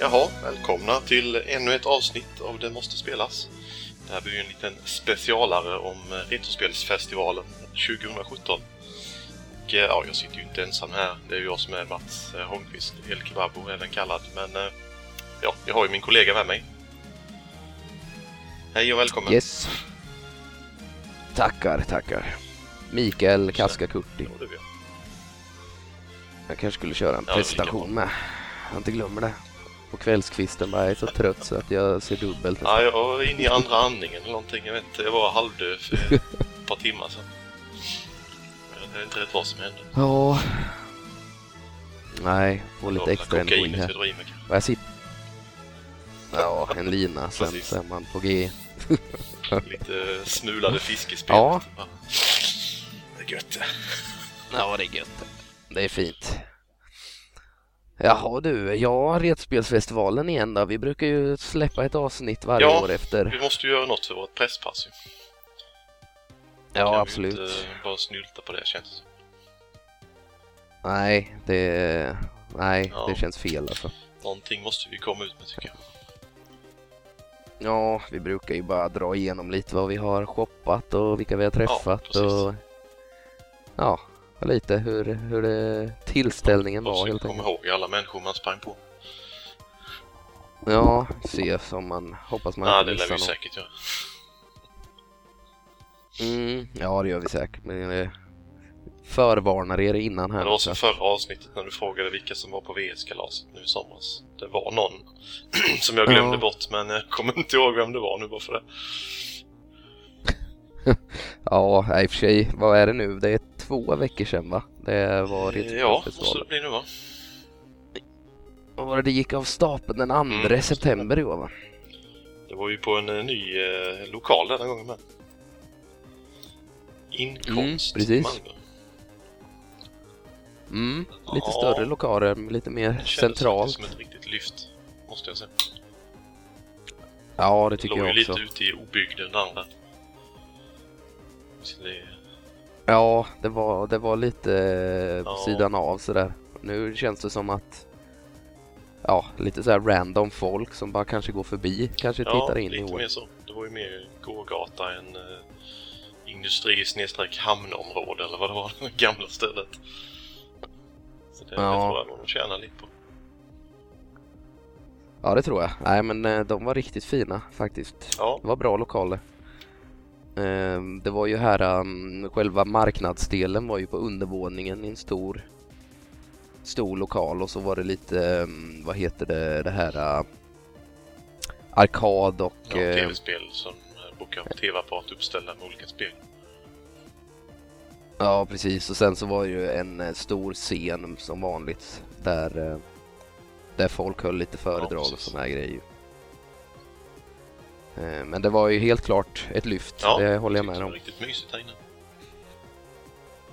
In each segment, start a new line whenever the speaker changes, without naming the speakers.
Jaha, välkomna till ännu ett avsnitt av Det måste spelas. Det här blir ju en liten specialare om eh, Retrospelsfestivalen 2017. Och, eh, ja, jag sitter ju inte ensam här. Det är ju jag som är Mats eh, Holmqvist, El Kebabo även kallad. Men eh, ja, jag har ju min kollega med mig. Hej och välkommen!
Yes. Tackar, tackar. Mikael Kaskakurti.
Ja, det är jag.
Jag kanske skulle köra en
Ja, det är lika
presentation med. Jag inte glömmer det. På kvällskvisten bara, jag är så trött så att jag ser dubbelt.
Ja, jag var inne i andra andningen eller någonting. Jag vet inte, jag var halvdöd för ett par timmar sedan. Jag vet inte rätt vad som hände.
Ja. Nej,
Det var
får lite
väl
extra energi
kokainet
här.
jag drog i mig kanske.
Och jag sitter... Ja, en lina, sen
Precis.
så är man på G.
Lite smulade fiskespel.
Ja.
Det är gött.
Ja, det är gött. Det är fint. Jaha du, ja, Retspelsfestivalen igen då. Vi brukar ju släppa ett avsnitt varje
Ja.
år efter.
Vi måste ju göra något för vårt presspass ju. Kan
Ja,
vi
absolut.
inte eh, bara snylta på det känns det som.
Nej, det... Nej,
Ja.
det känns fel alltså.
Någonting måste vi komma ut med tycker jag.
Ja, vi brukar ju bara dra igenom lite vad vi har shoppat och vilka vi har träffat
precis.
och... Ja, och lite hur, hur det... tillställningen
Och
var
försöka
helt
komma
enkelt.
ihåg alla människor man sprang på.
Ja, se som man... Hoppas man
Ja,
inte
det lär
missar
vi
någon.
säkert göra.
Mm, ja, det gör vi säkert. Men eh, förvarnar er innan här.
Men det var som
så-
förra avsnittet när du frågade vilka som var på VS-kalaset nu i somras. Det var någon som jag glömde
Ja.
bort men jag kommer inte ihåg vem det var nu bara för det.
Ja, nej, i och för sig. Vad är det nu? Det är två veckor sedan va? Det var
Eh, ja, måste
Ritspelsfestivalen.
det bli nu va?
Vad var det det gick av stapeln den 2
Mm.
september i år va?
Det var ju på en eh, ny eh, lokal denna gången med. Inkonst
Mm, precis.
Malmö.
Mm, lite
Ja.
större lokaler, men lite mer
Det kändes
centralt.
faktiskt som ett riktigt lyft, måste jag säga.
Ja, det
Det
tycker
låg ju
jag också.
lite ute i obygden det andra. Så det,
Ja, det var, det var lite eh, på
Ja.
sidan av sådär. Nu känns det som att Ja, lite så här random folk som bara kanske går förbi, kanske
ja,
tittar in i
lite
år.
mer så. Det var ju mer gågata än eh, industri snedstreck hamnområde eller vad det var, det gamla stället. Så det,
Ja.
jag tror jag nog de tjänar lite på.
Ja, det tror jag. Nej, men eh, de var riktigt fina faktiskt.
Ja,
Det var bra lokaler. Ehm, Det var ju här, ehm, själva marknadsdelen var ju på undervåningen i en stor, stor lokal och så var det lite, ehm, vad heter det, det här eh, arkad och...
ja
eh,
tv-spel som eh, bokar tv-apparat uppställda med olika spel.
ja, precis. Och sen så var det ju en eh, stor scen som vanligt där, eh, där folk höll lite föredrag och
precis.
såna här grejer. Ehm, Men det var ju helt klart ett lyft,
Ja,
det håller jag
tyckte
med
det
om.
var riktigt mysigt här inne.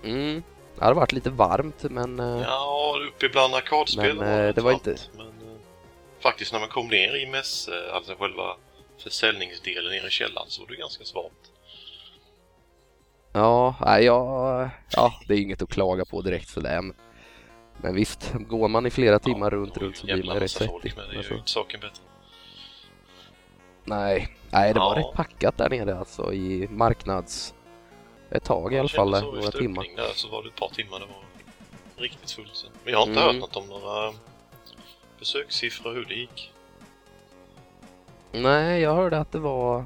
Mm. Det hade varit lite varmt men... eh,
Ja, uppe bland arkadspel
Men, eh,
rätt
det var
varmt,
inte-
Men, eh, faktiskt när man kom ner i mäss, eh, alltså själva försäljningsdelen nere i källaren, så var det ganska svalt.
Ja, nej, jag, ja, det är inget att klaga på direkt sådär. men- Men visst, går man i flera timmar runt,
det var ju
runt så
en
blir man ju
jävla
rätt
massa folk,
svettig.
Men det gör
alltså.
ju inte saken bättre.
Nej, nej, det var
Ja.
rätt packat där nere alltså i marknads... Ett tag i alla
Jag
fall,
kände
där,
så
några
efter
timmar.
öppning Där, så var det ett par timmar det var riktigt fullt. sen. Men jag har inte
Mm.
hört något om några besökssiffror hur det gick.
Nej, jag hörde att det var...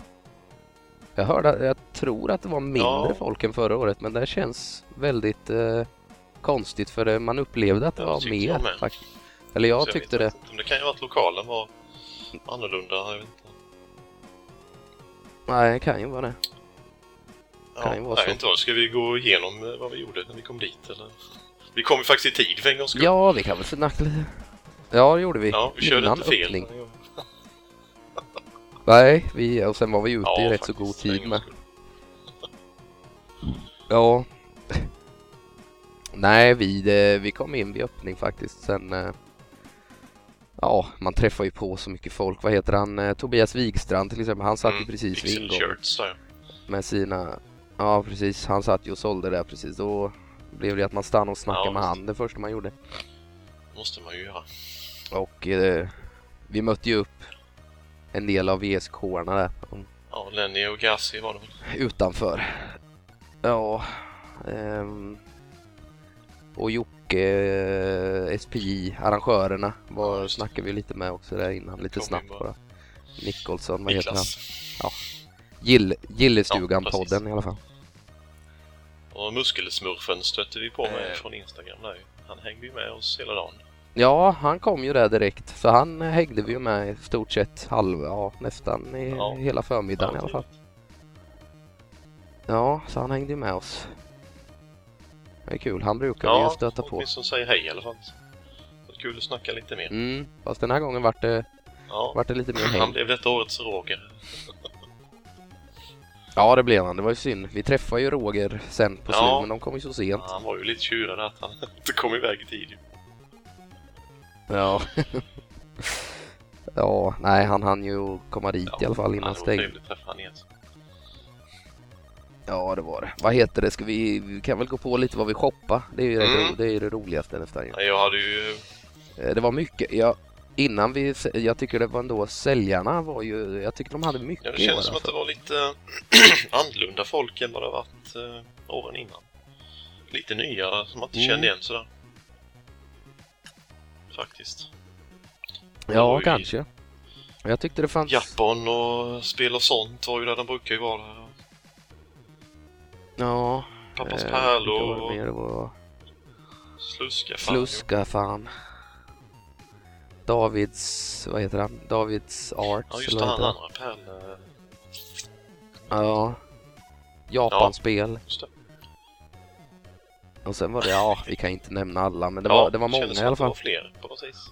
Jag hörde, jag tror att det var mindre
Ja.
folk än förra året, men det känns väldigt eh, konstigt för det, man upplevde att det
Ja,
var
tyckte jag
mer.
med.
faktiskt. Eller jag
Så
tyckte det.
vet inte om Det kan ju vara att lokalen var annorlunda. Jag vet inte.
Nej, det kan ju vara det.
Ja,
Kan ju vara
nej,
så.
Inte, vad. ska vi gå igenom eh, vad vi gjorde när vi kom dit? Eller? Vi kom ju faktiskt i tid för en gångs skull.
Ja, vi kan väl snacka lite. Ja, det gjorde vi.
Ja, vi körde
Innan
inte fel.
öppning. Nej, vi, och sen var vi ute i rätt så
faktiskt,
god
för en
tid
gångs
med.
skull.
Ja. Nej, vi, eh, vi kom in vid öppning faktiskt. Sen... eh, Ja, man träffar ju på så mycket folk. Vad heter han? Eh, Tobias Wigstrand till exempel. Han satt ju
Mm,
precis vid
Pixel
ingången
shirts, sa jag.
med sina... Ja, precis. Han satt ju och sålde där precis. Då blev det att man stannade och snackade
Ja,
med
visst.
han det första man gjorde.
måste man ju göra.
Och eh, vi mötte ju upp en del av ESK-arna där mm,
Ja, Lenny och Gassi var det väl.
utanför. Ja. ehm, och Jocke, eh, SPI, arrangörerna,
Ja,
var,
just det.
snackade vi lite med också där innan, lite
Kom in
snabbt
bara.
bara. Nicholson, vad heter han?
Niklas.
Gill,
Ja, precis.
Gillestugan-podden i alla fall.
Och Muskelsmurfen stötte vi på med
Eh.
från Instagram där ju. Han hängde ju med oss hela dagen.
Ja, han kom ju där direkt, så han hängde vi ju med i stort sett halva, ja nästan i,
Ja.
hela förmiddagen i alla fall. Ja, så han hängde ju med oss. Det är kul, han brukar vi ju stöta på.
folk som säger hej i alla fall. Så kul att snacka lite mer.
Mm, fast den här gången vart det,
Ja.
vart det lite mer
Han
häng.
blev detta årets Roger.
Ja, det blev han. Det var ju synd. Vi träffade ju Roger sen på
Ja.
Zoom, men de kom ju så sent.
Han var ju lite tjurig där att han inte kom iväg i tid. ju.
Ja. ja, nej, han hann ju komma dit i alla fall
Ja,
innan
det var
stäng.
trevligt att träffa han igen.
Ja, det var det. Vad heter det? Ska vi, vi kan väl gå på lite vad vi shoppar. Det är ju det,
Mm.
ro, det, är ju det roligaste nästan. ju.
Nej, Jag hade ju...
Eh, Det var mycket. Jag, innan vi, s- jag tycker det var ändå säljarna var ju, jag tycker de hade mycket
Ja, det
i år,
känns som att
alltså.
det var lite annorlunda folk än vad det varit eh, åren innan. Lite nya som man inte
Mm.
kände igen sådär. Faktiskt.
Ja,
Oj.
kanske. Jag tyckte det fanns...
Japan och spel och sånt var ju där de brukar ju vara. Där.
Ja.
Pappas
eh,
pärlor
vilka var det
och
mer? Det var
sluska fan.
Sluska fan. Davids, vad heter han? Davids Arts
Ja just
eller
det,
vad
han
heter han?
andra pärl. eh,
Ja. Japanspel.
Just det.
Och sen var det, ja, vi kan inte nämna alla men det
Ja,
var, det var många
kändes
i
som
alla
att Det
fall.
var fler på något vis.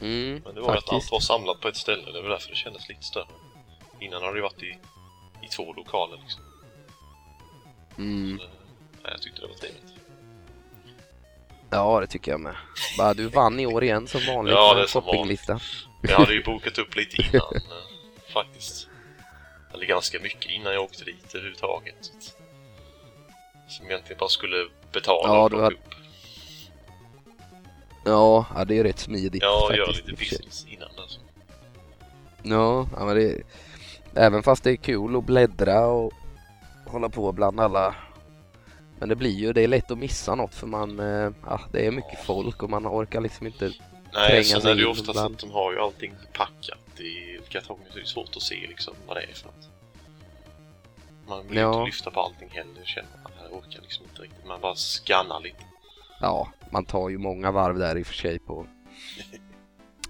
Mm,
Men det var ju att allt
faktiskt.
var samlat på ett ställe. Det var därför det kändes lite större. Innan har det ju varit i, i två lokaler liksom.
Mm.
Eh, Nej, jag tyckte det var trevligt.
Ja, det tycker jag med. Bara, du vann i år igen som vanligt
Ja,
ja,
det är
med
som
shoppinglistan.
Jag hade ju bokat upp lite innan eh, faktiskt. Eller ganska mycket innan jag åkte dit överhuvudtaget. Så att- Som egentligen bara skulle betala
Ja,
och
du
plocka
hade-
upp.
Ja, ja, det är rätt smidigt
Ja, och
faktiskt.
göra lite
i och för sig.
business innan. Alltså.
Ja, ja, men det... Även fast det är kul att bläddra och hålla på bland alla men det blir ju, det är lätt att missa något för man, eh, ja, det är mycket folk och man orkar liksom inte.
Nej,
Tränga
sen
sig
är det ju
in
oftast
bland-
att de har ju allting packat i kartonger så det är svårt att se liksom vad det är för något. Man vill ju
Ja.
inte lyfta på allting heller och känner att man orkar liksom inte riktigt. Man bara skannar lite.
Ja, man tar ju många varv där i och för sig på.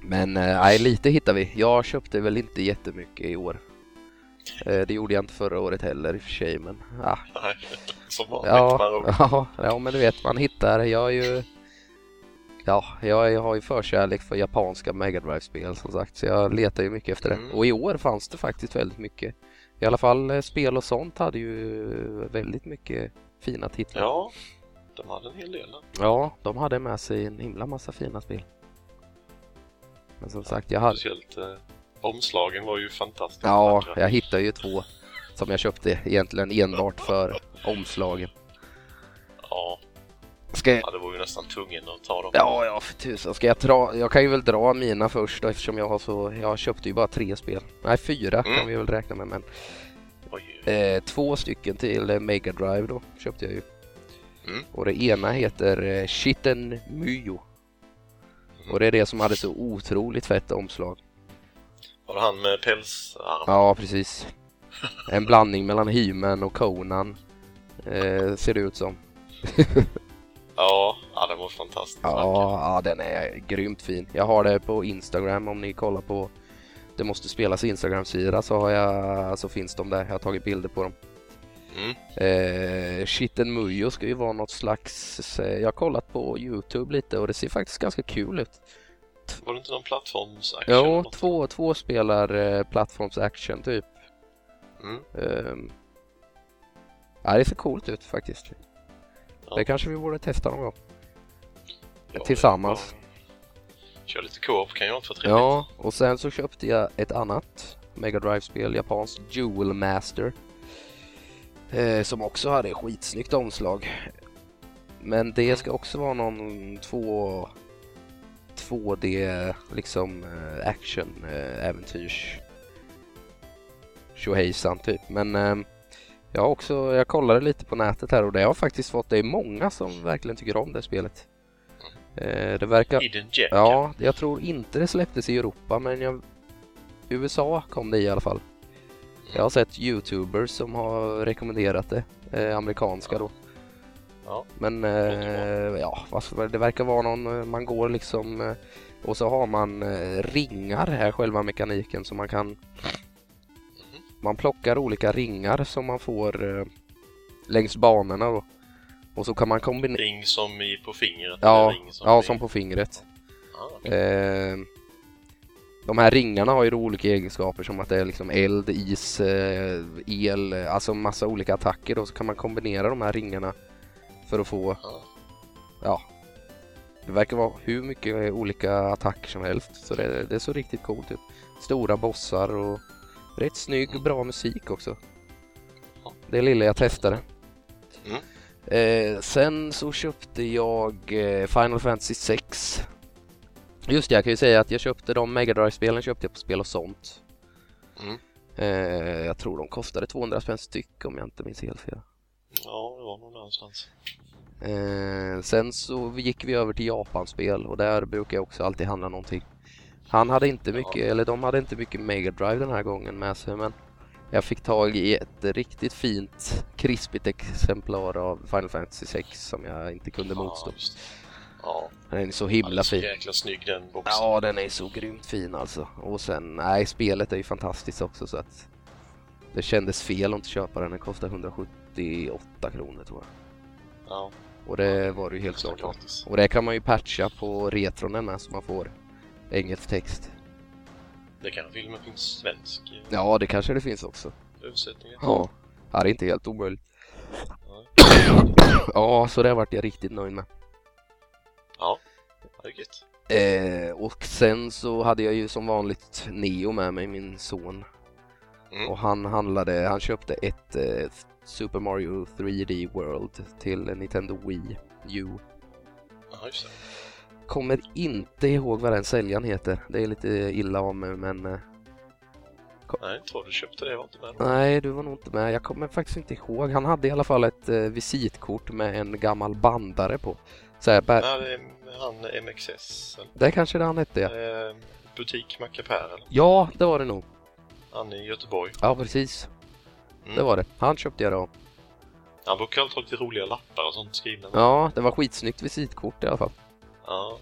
Men eh, nej, lite hittar vi. Jag köpte väl inte jättemycket i år. Eh, det gjorde jag inte förra året heller i och för sig, men ah,
Nej, som vanligt. Man
Ja,
råkar-
ja, ja, men du vet man hittar. Jag är ju... Ja, jag är- har ju förkärlek för japanska Mega drive spel som sagt, så jag letar ju mycket efter det.
Mm.
Och i år fanns det faktiskt väldigt mycket. I alla fall eh, spel och sånt hade ju väldigt mycket fina titlar.
ja, de hade en hel del där.
Ja, de hade med sig en himla massa fina spel. Men som sagt, jag hade...
Speciellt eh, omslagen var ju fantastiska.
Ja,
vackra.
jag hittade ju två som jag köpte egentligen enbart för omslagen.
ja.
Ska jag...
ja, det var ju nästan tvungen att ta dem.
Ja, ja för tusan. Ska jag dra? Jag kan ju väl dra mina först då, eftersom jag har så... Jag köpte ju bara tre spel. Nej, fyra
Mm.
kan vi väl räkna med, men...
Oj,
Eh, två stycken till eh, Mega Drive då, köpte jag ju.
Mm.
Och det ena heter eh, Shitten Myo.
Mm.
Och det är det som hade så otroligt fett omslag.
var det han med pälsarm?
Ja, precis. En blandning mellan He-Man och Conan. Eh, ser det ut som.
Ja, ja den var fantastisk. vacker.
Ja, ja, den är grymt fin. Jag har det på Instagram om ni kollar på Det måste spelas Instagram-sida så, har jag, så finns de där. Jag har tagit bilder på dem.
Mm.
Eh, Shitten Mujo ska ju vara något slags... eh, Jag har kollat på Youtube lite och det ser faktiskt ganska kul ut.
Var det inte någon plattformsaction? eller
Jo,
något?
två, två spelar eh, plattforms-action typ.
Mm.
Ehm. ja, det ser coolt ut faktiskt.
Ja.
Det kanske vi borde testa någon gång.
Ja,
Tillsammans.
det är bra. Kör lite co-op kan ju inte vara trevligt.
Ja, och sen så köpte jag ett annat Mega Drive-spel, japanskt Jewel Master. Eh, som också hade skitsnyggt omslag. Men det ska också vara någon två... 2D liksom eh, action eh, äventyrs tjohejsan typ. Men eh, jag har också, jag kollade lite på nätet här och det har faktiskt fått, det är många som verkligen tycker om det spelet. Eh, det verkar
Hidden Gem.
Ja, jag tror inte det släpptes i Europa, men jag... USA kom det i alla fall. Jag har sett Youtubers som har rekommenderat det, eh, amerikanska då.
Ja.
Men
låter
eh, ja, varför- det verkar vara någon, eh, man går liksom eh, och så har man eh, ringar här, själva mekaniken, så man kan...
Mm.
Man plockar olika ringar som man får eh, längs banorna då. Och så kan man kombinera...
Ring som i på fingret.
Ja,
eller ring som
ja,
i...
som på fingret.
Ah,
Eh, de här ringarna har ju då olika egenskaper som att det är liksom eld, is, eh, el, eh, alltså massa olika attacker då så kan man kombinera de här ringarna för att få,
Ja.
ja, det verkar vara hur mycket eh, olika attacker som helst så det, det är så riktigt coolt ut. Stora bossar och rätt snygg, bra musik också.
Ja.
Det lilla jag testade.
Mm.
Eh, sen så köpte jag eh, Final Fantasy 6 Just det, jag kan ju säga att jag köpte de Mega drive spelen köpte jag på spel och sånt.
Mm.
Eh, jag tror de kostade 200 spänn styck om jag inte minns helt fel.
ja, det var nog någonstans.
Eh, sen så gick vi över till Japanspel och där brukar jag också alltid handla någonting. Han hade inte
Ja.
mycket, eller de hade inte mycket Mega Drive den här gången med sig men jag fick tag i ett riktigt fint krispigt exemplar av Final Fantasy 6 som jag inte kunde motstå.
Ja, just det. Ja,
Den är så
den är
himla
så
fin.
jäkla snygg den boxen.
Ja, den är så grymt fin alltså. Och sen, nej, spelet är ju fantastiskt också så att det kändes fel att inte köpa den. Den kostar 178 kronor tror jag.
Ja,
Och det var det ju helt
kostar
klart. med.
gratis.
Och det kan man ju patcha på retronen med så man får engelsk text.
Det kan till och med finnas svensk eh,
Ja, det kanske det finns också.
översättning.
Ja. Ja, det är inte helt omöjligt.
Ja.
Ja, så det vart jag riktigt nöjd med.
Ja, det är gött.
Eh, och sen så hade jag ju som vanligt Neo med mig, min son.
Mm.
Och han handlade, han köpte ett eh, Super Mario 3D World till Nintendo Wii U.
Ja, just det.
Kommer inte ihåg vad den säljaren heter. Det är lite illa om mig men... Eh,
Nej, jag tror du köpte det. Jag var inte med då.
nej, du var nog inte med. Jag kommer faktiskt inte ihåg. Han hade i alla fall ett eh, visitkort med en gammal bandare på. Så här, bär-
Nej, det är han eh, MXS. eller?
Det kanske det han hette ja.
Eh, butik Mackapär, eller?
Ja, det var det nog.
Han är i Göteborg.
Ja, precis.
Mm.
Det var det. Han köpte jag det av.
Han brukar alltid ha lite roliga lappar och sånt skrivna.
Ja, det var skitsnyggt visitkort i alla fall.
Ja,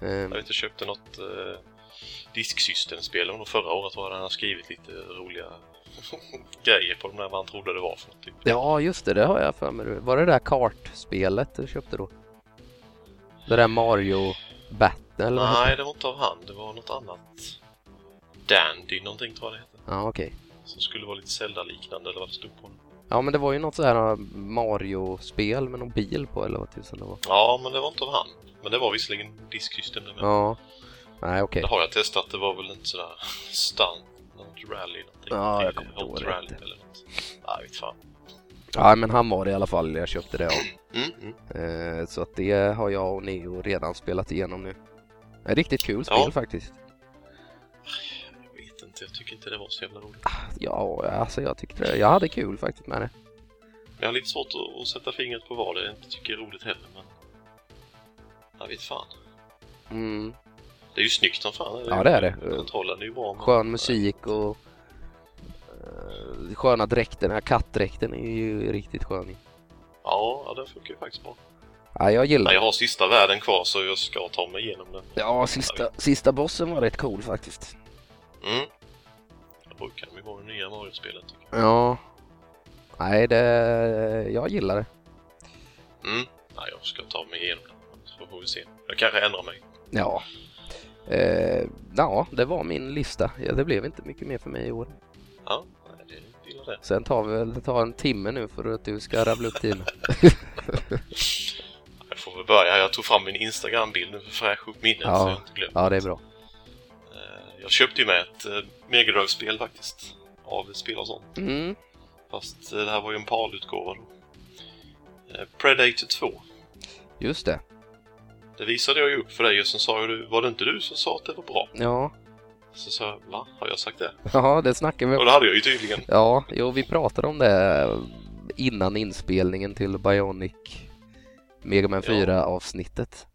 Ehm,
jag vet inte, köpte något eh, disksystemspel under förra året var det han har skrivit lite roliga grejer på de där vad han trodde det var för något. Typ.
Ja, just det. Det har jag för mig. Var det det där kartspelet du köpte då? Det där Mario Battle? eller vad hette
Nej, det var inte av han. Det var något annat. Dandy någonting tror jag det hette.
det? Ja, okej.
Som skulle vara lite Zelda-liknande eller vad det stod på den.
Ja, men det var ju något så här ah, Mario-spel med någon bil på eller vad tusan det var.
Ja, men det var inte av han. Men det var visserligen disksystem det med.
Ja. Nej, okej.
Det har jag testat. Det var väl inte sådär stunt. Något rally någonting.
Ja, jag
Till
kommer inte ihåg
Hot
det
rally
inte.
eller något. Nej, vet fan.
Ja, men han var det i alla fall. Jag köpte det av.
Mm, mm.
Eh, så att det har jag och Neo redan spelat igenom nu. Ett riktigt kul spel
Ja.
faktiskt.
Jag vet inte. Jag tycker inte det var så jävla roligt.
Ja, alltså jag tyckte det. Jag hade kul faktiskt med det.
Jag har lite svårt att, att sätta fingret på vad det är jag inte tycker är roligt heller. Men... Jag vet fan.
Mm.
Det är ju snyggt som fan.
Ja, det är det.
Kontrollen är ju bra. men-
skön musik och eh, sköna dräkten. Den här kattdräkten är ju riktigt skön.
Ja, ja, den funkar ju faktiskt bra.
Mm. Ja, jag gillar
Nej,
den.
jag har sista världen kvar så jag ska ta mig igenom den.
Ja, sista, sista bossen var rätt cool faktiskt.
Mm. Det brukar de ju vara i det nya Mario-spelet tycker
Ja. Nej, det... Jag gillar det.
jag. Mm. Nej, jag ska ta mig igenom den. Så får vi se. Jag kanske ändrar mig.
Ja. Eh, ja, det var min lista. Ja, det blev inte mycket mer för mig i år.
Ja, nej, det gillar det.
Sen tar vi väl det tar en timme nu för att du ska rabbla upp dina.
Jag får väl börja. Jag tog fram min Instagram-bild nu för att fräscha upp minnet
Ja.
så jag inte glömmer.
Ja, det är bra.
Eh, Jag köpte ju med ett eh, Mega Drive-spel faktiskt. Av spel och sånt.
Mm.
Fast eh, det här var ju en PAL-utgåva då. Eh, Predator 2.
Just det.
Det visade jag ju upp för dig och sen sa ju du, var det inte du som sa att det var bra?
Ja,
Så sa jag, va? Har jag sagt det?
ja det snackar vi om.
Och det hade jag ju tydligen.
Ja, jo, vi pratade om det innan inspelningen till Bionic Mega Man
Ja.
4-avsnittet.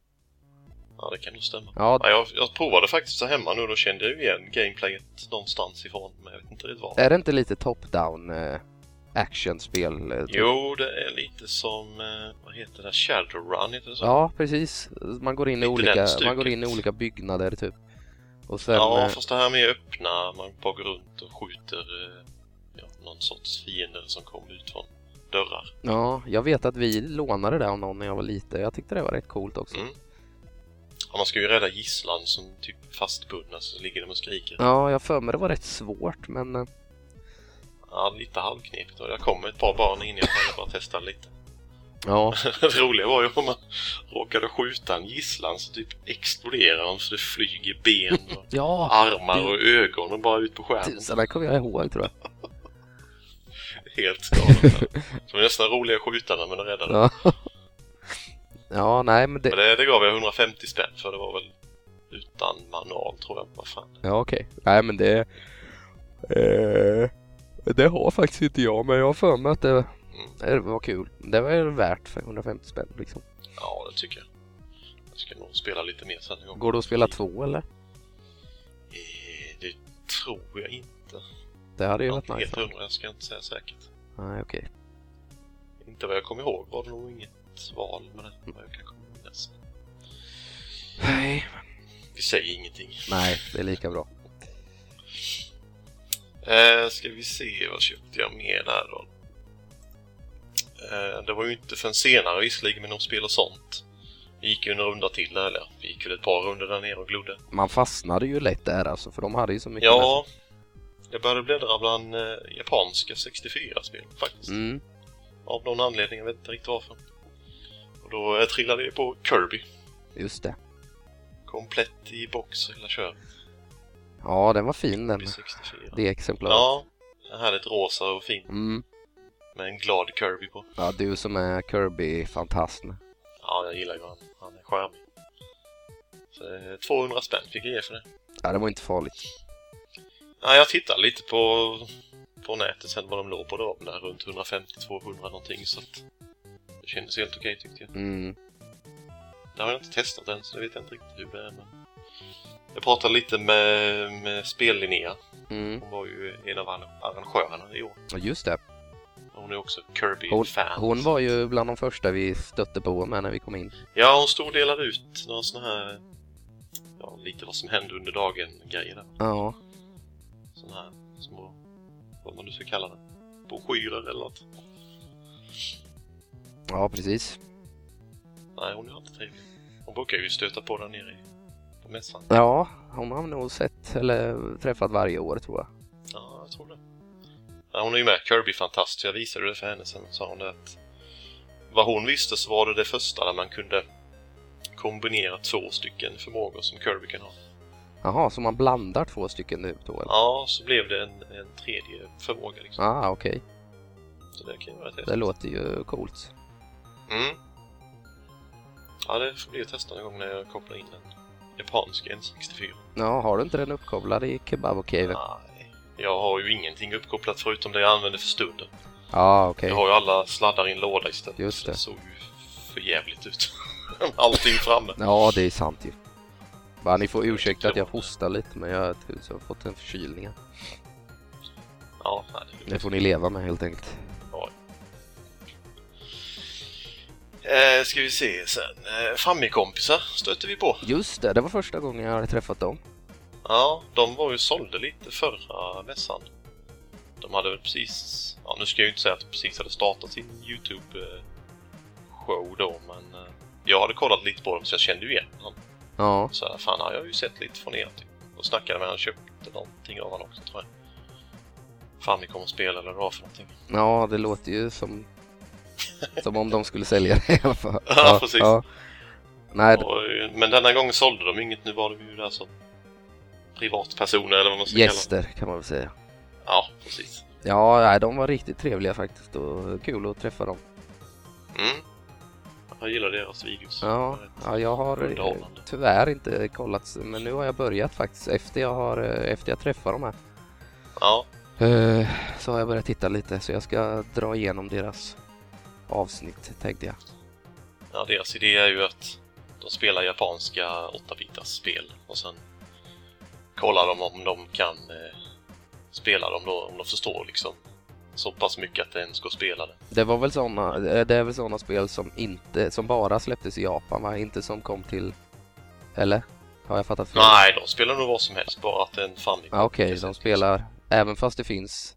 Ja, det kan nog stämma.
Ja,
Ja, jag, jag provade faktiskt så hemma nu och då kände jag ju igen gameplayet någonstans ifrån, men jag vet inte riktigt var.
är det inte lite top-down eh, actionspel? eh, typ?
Jo, det är lite som, eh, vad heter det, Shadowrun, heter det så?
Ja, precis. Man går in i,
Lite
olika,
den stuket.
man går in i olika byggnader typ. Och sen...
ja
eh,
fast det här med öppna, man bara går runt och skjuter eh, ja, någon sorts fiender som kommer ut från dörrar.
ja, jag vet att vi lånade det av någon när jag var liten. Jag tyckte det var rätt coolt också.
Mm. Ja, man ska ju rädda gisslan som typ är fastbundna, så ligger de och skriker.
Ja, jag har för mig det var rätt svårt, men... eh,
Ja, lite halvknepigt. och Jag kom ett par barn in, jag ville bara testa lite.
Ja,
Det roliga var ju om man råkade skjuta en gisslan så typ exploderar de så det flyger ben och
ja
armar och ögon och bara ut på skärmen.
tusan, det kommer jag ihåg tror jag.
Helt galet. Det var nästan roligare att skjuta den, men det räddade.
Ja, ja nej, men det...
Men det, det gav jag 150 spänn för det var väl utan manual tror jag. Vad fan.
Ja, okej. Nej, men det... Eh, det har faktiskt inte jag, men jag har för mig att det,
Mm.
det var kul. Det var ju värt för 150 spänn liksom.
Ja, det tycker jag. Jag ska nog spela lite mer sen en gång.
Går det att spela två eller?
Eh, Det tror jag inte.
Det hade ju
Jag
varit
är helt
nice.
hundra, jag ska inte säga säkert.
Nej, okej.
Inte vad jag kommer ihåg var det nog inget val med det. Vad jag kan komma minnas.
Nej.
Vi säger ingenting.
Nej, det är lika bra.
Eh, ska vi se, vad köpte jag mer där då? Eh, det var ju inte förrän senare visserligen, men om spel och sånt. Vi gick ju en runda till där, eller vi gick väl ett par runder där nere och glodde.
Man fastnade ju lätt där alltså, för de hade ju så mycket
Ja, jag började bläddra bland eh, japanska 64-spel faktiskt.
med sig. Mm.
Av någon anledning, jag vet inte riktigt varför. Och då eh, trillade jag på Kirby.
Just det.
Komplett i box och hela köret.
Ja, den var fin den.
Kirby 64.
Det exemplaret.
Ja, härligt rosa och fint
Mm.
med en glad Kirby på.
Ja, du som är Kirby-fantasm.
Ja, jag gillar ju han. Han är charmig. Så, eh, 200 spänn fick jag ge för det.
Ja, det var inte farligt.
Ja, jag tittade lite på, på nätet sen vad de låg på. Det var väl där runt 150-200 någonting så att det kändes helt okej tyckte jag.
Mm.
Det har jag inte testat än så det vet jag inte riktigt hur det är men... Jag pratade lite med, med spellinnea.
Mm.
Hon var ju en av arr- arrangörerna i år.
Ja, Just det.
Hon är också Kirby-fan.
Hon var ju bland de första vi stötte på med när vi kom in.
Ja, hon stod och delade ut några såna här... Ja, lite vad som hände under dagen-grejer där.
Ja,
sådana här små, vad man nu ska kalla det, broschyrer eller något.
ja precis.
Nej, hon är alltid trevlig. Hon brukar ju stöta på där nere i, på mässan.
Ja, hon har vi nog sett eller träffat varje år tror jag.
Ja, jag tror det. Ja, hon är ju med, Kirby-fantast, så jag visade det för henne sen sa hon det att vad hon visste så var det det första där man kunde kombinera två stycken förmågor som Kirby kan ha.
Jaha, så man blandar två stycken nu då eller?
Ja, så blev det en, en tredje förmåga liksom.
Ah, okej.
Så det kan ju vara rätt
Det
häftigt.
låter ju coolt.
Mm. Ja, det får bli att testa någon gång när jag kopplar in den japanska N64.
Ja, har du inte den uppkopplad i Kebab-caven? Ja,
Nej, jag har ju ingenting uppkopplat förutom det jag använder för stunden.
okej.
Jag har ju alla sladdar i en låda istället.
Just
så
det.
Det såg ju för jävligt ut. Allting framme.
Ja, det är sant ju. Bara, ni får ursäkta att jag hostar lite men jag har tusen- jag har fått en förkylning. här.
Ja, nej, det är
Det
lugnt.
får ni leva med helt enkelt.
Eh, ska vi se sen. Eh, Fammikompisar stötte vi på.
Just det, det var första gången jag hade träffat dem.
Ja, de var ju sålde lite förra mässan. De hade väl precis... Ja, nu ska jag ju inte säga att de precis hade startat sin YouTube-show då, men... Eh, jag hade kollat lite på dem så jag kände ju igen honom.
Ja,
Så här, fan, jag har ju sett lite från er typ. Och snackade med han, köpte någonting av han också tror jag. Fan, vi kommer spela eller vad det var för någonting.
ja det låter ju som... Som om de skulle sälja det i alla fall.
Ja, precis.
Nej, d-
Och, eh, men denna gången sålde de inget, nu var de ju där som privatpersoner eller vad man ska kalla
gäster kan man väl säga.
det. Ja, precis.
Ja, nej, de var riktigt trevliga faktiskt och kul att träffa dem.
Mm. Jag gillar deras videos.
Ja,
Det är rätt
ja, jag har eh,
underhållande.
tyvärr inte kollat men nu har jag börjat faktiskt efter jag har eh, efter jag träffar de här.
Ja,
Eh, Så har jag börjat titta lite så jag ska dra igenom deras avsnitt tänkte jag.
ja, deras idé är ju att de spelar japanska 8-bitars spel och sen kollar de om de kan eh, spela dem då, om de förstår liksom så pass mycket att det ens går att spela det.
Det var väl såna, eh, det är väl såna spel som inte, som bara släpptes i Japan va? Inte som kom till, eller? Har jag fattat fel?
Nej, de spelar nog vad som helst, bara att det är en familj.
Ja, Okej, de spelar, även fast det finns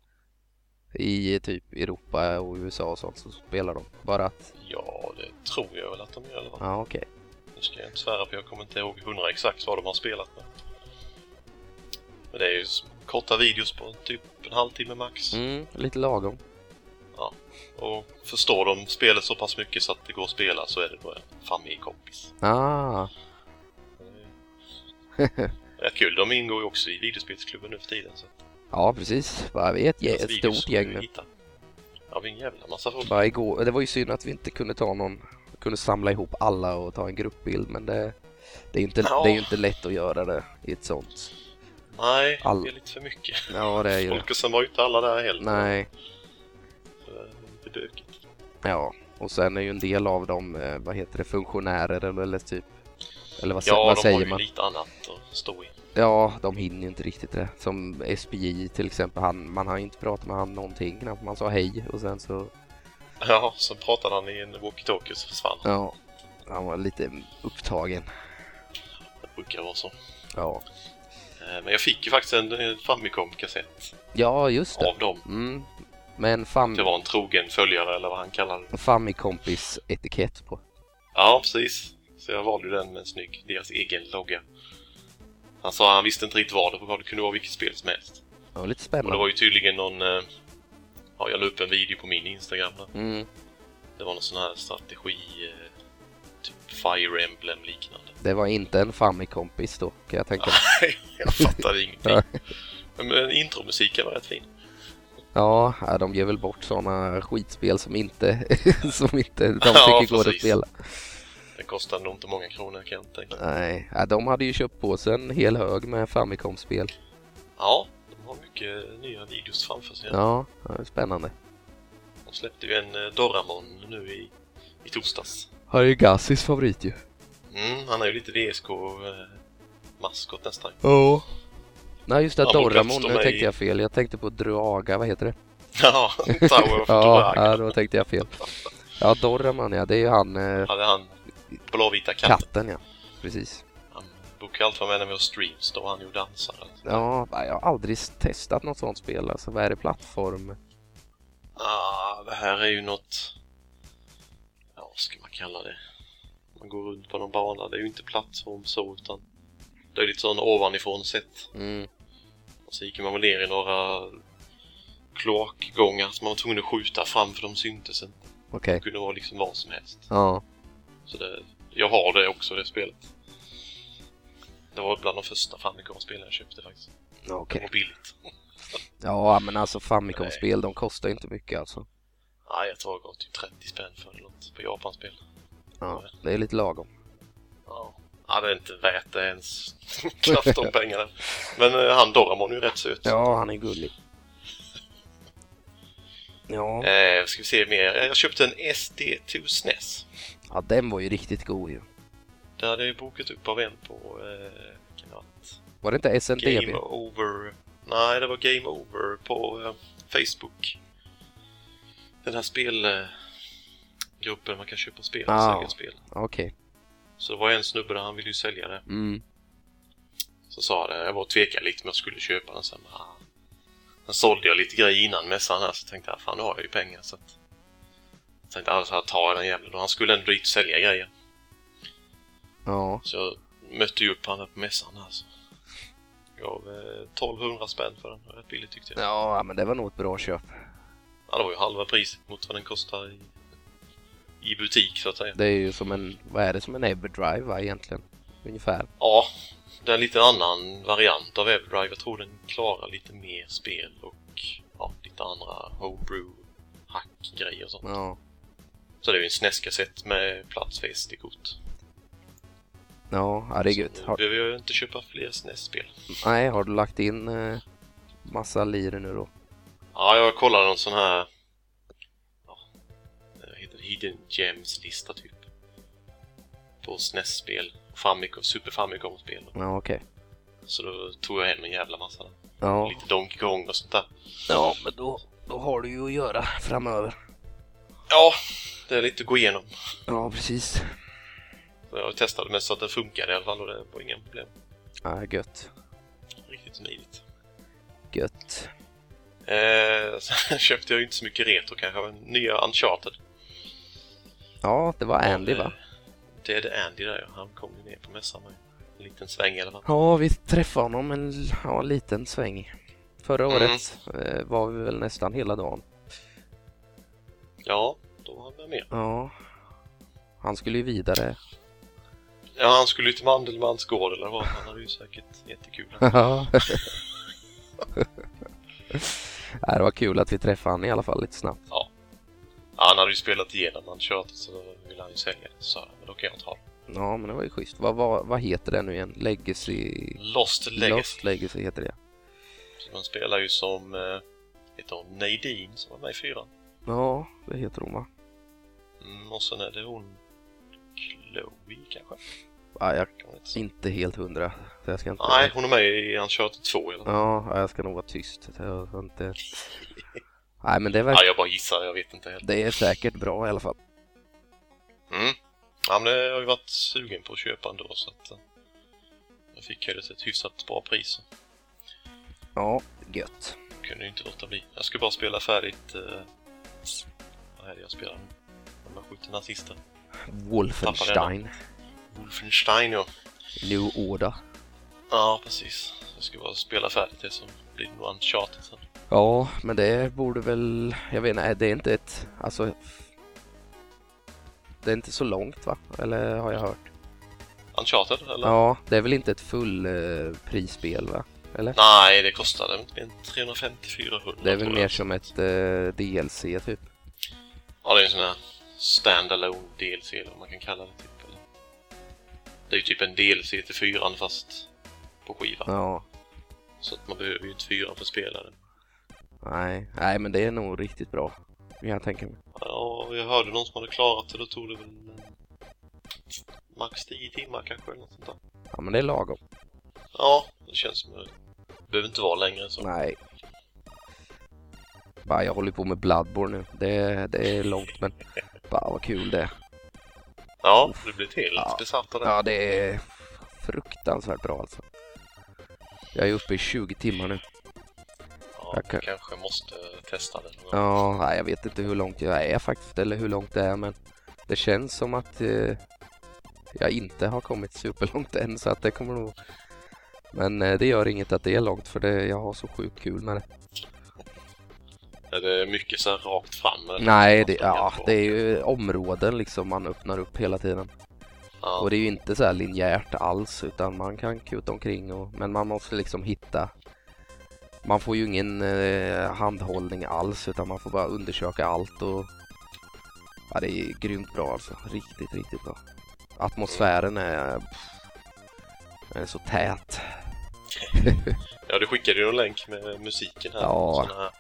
i typ Europa och USA och sånt så spelar de. Bara att,
Ja, det tror jag väl att de gör i alla fall.
ja okej.
Nu ska jag inte svära på, jag kommer inte ihåg hundra exakt vad de har spelat med. Men det är ju s- korta videos på typ en halvtimme max.
Mm, lite lagom.
Och förstår de spelet så pass mycket så att det går att spela så är det då en familjekompis.
Ah,
Rätt kul, de ingår ju också i videospelsklubben nu för tiden. Så att
ja precis. Bara, vi är ett, gäng,
deras
ett
videos
stort
går ju
gäng
att
nu.
hitta. Ja, vi är en jävla massa folk.
Bara igår, det var ju synd att vi inte kunde ta någon, kunde samla ihop alla och ta en gruppbild men det, det är ju inte,
Ja.
det är ju inte lätt att göra det i ett sånt.
Nej,
All-
det är lite för mycket.
Ja det är ju det.
Folk och sen var ju inte alla där heller.
Nej,
Så eh, det är lite bökigt.
ja. Och sen är ju en del av dem, eh, vad heter det, funktionärer eller, eller typ eller vad, sä-
Ja,
vad
de har
säger
ju
man?
lite annat att stå i.
Ja, de hinner ju inte riktigt det. Som SPJ till exempel, han, man har ju inte pratat med han någonting knappt. Man sa hej och sen så,
Ja, sen pratade han i en walkie-talkie och så försvann han.
ja, han var lite upptagen.
Det brukar vara så.
Ja,
Eh, Men jag fick ju faktiskt en eh, Famicom-kassett
ja just det.
av dem.
Mm. Men fam,
Det var en trogen följare eller vad han kallar det.
Famikompis etikett på.
Ja, precis. Så jag valde ju den med en snygg, deras egen logga. Han sa han visste inte riktigt vad det var, det kunde vara vilket spel som helst.
Det var lite
Och det
spännande.
var ju tydligen någon... eh, Ja, jag la upp en video på min Instagram där.
Mm.
Det var någon sån här strategi... eh, Typ Fire Emblem liknande.
Det var inte en Famikompis då kan jag tänka mig.
Ah. Jag fattade ingenting. Men intromusiken var rätt fin.
Ja, ja, de ger väl bort sådana skitspel som inte, som inte de tycker
Ja,
går att
precis.
spela.
Det kostade nog inte många kronor kan jag inte tänka.
Nej, ja, de hade ju köpt på sig en hel hög med Famicom-spel.
Ja, de har mycket nya videos framför sig.
Ja, ja det är spännande.
De släppte ju en eh, Doramon nu i, i torsdags.
Här är ju Gassis favorit ju.
Mm, han är ju lite VSK-maskot nästan.
Ja. Nej just det,
Ja, men
Doramon,
plats de
nu
är
tänkte
i-
jag fel. Jag tänkte på Draga, vad heter det?
Ja, Tower of
Ja,
Doraga.
ja, då tänkte jag fel. Ja, Doraman ja, det är ju han, eh,
Hade han blåvita katten.
katten ja. Precis.
Han brukar alltid vara med när vi har streams då. Han gjorde dansare.
Ja, jag har aldrig testat något sånt spel. Alltså, vad är det plattform?
Ah, det här är ju något... Ja, vad ska man kalla det? Man går runt på någon bana. Det är ju inte plattform så utan... Det är lite sån ovanifrån sett.
Mm.
Och så gick man väl ner i några kloakgångar som man var tvungen att skjuta fram för de syntes inte.
Okej.
Det kunde vara liksom vad som helst.
Ja.
Så det, jag har det också, det spelet. Det var bland de första Famicom-spelen jag köpte faktiskt. Det
Okej.
var billigt.
Ja, men alltså Famicom-spel, de kostar ju inte mycket alltså.
Nej, jag tror jag gav typ 30 spänn för det eller något på Japanspel.
Ja, det är lite lagom.
Ja. ja, det är inte värt det ens. Knappt de pengarna. Men eh, han Doramon är ju rätt söt.
Ja, han är gullig. Ja.
Eh, ska vi se mer. Eh, Jag köpte en SD2 SNES.
ja, den var ju riktigt god ju.
Det hade jag ju bokat upp av en på... Eh, kan det ha varit?
Var det inte
Game
SNDB?
Over... Nej, det var Game Over på eh, Facebook. Den här spelgruppen man kan köpa spel och
Ah.
sälja spel.
Okej.
Så det var en snubbe där, han ville ju sälja det.
Mm.
Så sa det, jag var och tvekade lite om jag skulle köpa den sen. men, Ah. Sen sålde jag lite grejer innan mässan här, så tänkte jag fan nu har jag ju pengar. Så att... Jag tänkte alltså här tar jag den jäveln och han skulle ändå dit och sälja grejer.
Ja.
Så jag mötte ju upp han där på mässan här. Så. Gav eh, 1200 spänn för den, Det var rätt billigt tyckte jag.
Ja, men det var nog ett bra köp.
Ja, det var ju halva priset mot vad den kostar i, i butik så att säga.
Det är ju som en, vad är det, som en Everdrive va egentligen? Ungefär.
Ja, det är en lite annan variant av Everdrive. Jag tror den klarar lite mer spel och ja, lite andra homebrew hack-grejer och sånt.
Ja.
Så det är ju en SNES-kassett med plats för SD-kort.
Ja, ja det är gött.
Så nu
Har,
behöver jag inte köpa fler SNES-spel.
nej, har du lagt in eh, massa lir nu då?
Ja, jag kollade någon sån här... Ja, vad heter det? Hidden Gems-lista typ. På SNES-spel. Famicom, Super Famicom-spel.
Ja, okej.
Så då tog jag hem en jävla massa.
Ja.
Lite Donkey Kong och sånt där.
ja, men då, då har du ju att göra framöver.
Ja, det är lite att gå igenom.
Ja, precis.
Så jag testade mest så att den funkade i alla fall och det var inga problem.
Ja, gött.
Riktigt smidigt.
Gött.
Eh, sen köpte jag ju inte så mycket retro kanske, men nya Uncharted.
Ja, det var Andy va?
Det är det Andy där ja. Han kom ju ner på mässan med en liten sväng i alla fall.
Ja, vi träffade honom en ja, liten sväng. Förra
Mm.
året eh, var vi väl nästan hela dagen.
Ja, då var han med mer.
Ja. Han skulle ju vidare.
Ja, han skulle ju till Mandelmanns gård eller vad. Han hade ju säkert jättekul.
Ja. det var kul att vi träffade han i alla fall lite snabbt.
Ja, han hade ju spelat igenom Uncharted så då ville han ju sälja det. Så han, men då kan jag ta det.
Ja, men det var ju schysst. Vad, vad, vad heter det nu igen? Legacy...
Lost Legacy.
Lost Legacy heter det.
Så man spelar ju som... Eh, heter hon Nadine som var med i fyran?
Ja, det heter hon va?
Mm, och sen är det hon... Chloe kanske?
Ja, jag
Kan man inte
är
säga.
inte helt hundra. Så jag ska inte...
Nej, hon är med i Uncharted 2 eller?
Ja, ja, jag ska nog vara tyst. så Jag ska inte... Nej, men det, verkar...
Ja, jag bara gissar. Jag vet inte heller.
det är säkert bra i alla fall.
Mm. Ja, men det har ju varit sugen på att köpa ändå så att... eh, Jag fick ju det till ett hyfsat bra pris.
Ja, gött.
så Kunde ju inte låta bli. Jag ska bara spela färdigt... Eh, vad är det jag spelar nu? De här skjuter nazister.
Wolfenstein.
Wolfenstein ja.
New Order.
Ja, precis. Jag ska bara spela färdigt det som blir nog Uncharted sen.
Ja, men det borde väl... Jag vet inte, det är inte ett... Alltså... Det är inte så långt va? Eller har jag hört?
Uncharted eller?
Ja, det är väl inte ett fullprisspel va? Eller?
Nej, det kostade inte mer än 350-400
Det är väl
tror
mer
jag.
som ett eh, DLC typ.
Ja, det är en sån här standalone DLC eller vad man kan kalla det typ. Eller? Det är ju typ en DLC till fyran fast på skiva.
Ja.
Så att man behöver ju inte fyran för att spela den.
Nej, nej men det är nog riktigt bra. Jag tänker mig.
Ja, jag hörde någon som hade klarat det, då tog det väl eh, max 10 timmar kanske eller något sånt där.
Ja men det är lagom.
Ja, det känns som det behöver inte vara längre än så.
Nej. Bara, jag håller på med Bloodborne nu. Det, det är långt men... Bara vad kul det är.
Ja, du blir helt
Ja.
besatt av det.
Ja, det är fruktansvärt bra alltså. Jag är uppe i 20 timmar nu.
Ja,
jag kan-
kanske måste testa det någon gång.
Ja, nej, jag vet inte hur långt jag är faktiskt, eller hur långt det är, men det känns som att eh, jag inte har kommit superlångt än, så att det kommer nog... Men eh, det gör inget att det är långt, för det, jag har så sjukt kul med det.
Är det mycket så här rakt fram? Eller?
Nej,
Man
det,
springer
ja,
på?
det är ju områden liksom man öppnar upp hela tiden.
Ja.
Och det är ju inte så här linjärt alls utan man kan kuta omkring och, men man måste liksom hitta Man får ju ingen eh, handhållning alls utan man får bara undersöka allt och Ja det är grymt bra alltså, riktigt riktigt bra Atmosfären är, pff, den är så tät
Ja, du skickade ju en länk med musiken här.
Ja.
Sån här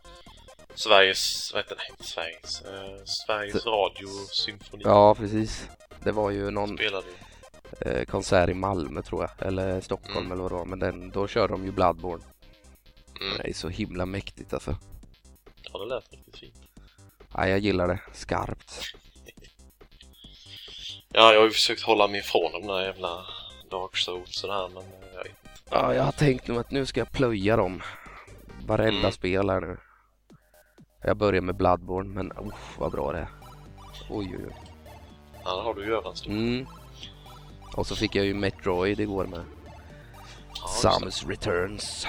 Sveriges, vad heter det? Nej, inte Sveriges. Eh, Sveriges Radio Symfoni
Ja precis Det var ju någon
spelade ju.
eh, konsert i Malmö tror jag, eller Stockholm
Mm.
eller vad det var men den, då körde de ju Bloodborne
Mm.
Det är så himla mäktigt alltså
Ja, det lät riktigt fint.
ja, jag gillar det skarpt
Ja, jag har ju försökt hålla mig ifrån de där jävla Dark Souls och det här, men eh, jag vet inte.
Ja, jag har tänkt nu att nu ska jag plöja dem. Varenda
Mm.
spel här nu. Jag börjar med Bloodborne, men oh, vad bra det är. Oj, oj, oj.
Ja, där har du ju överens.
Mm. Och så fick jag ju Metroid igår med.
Ja, just det.
Samus Returns.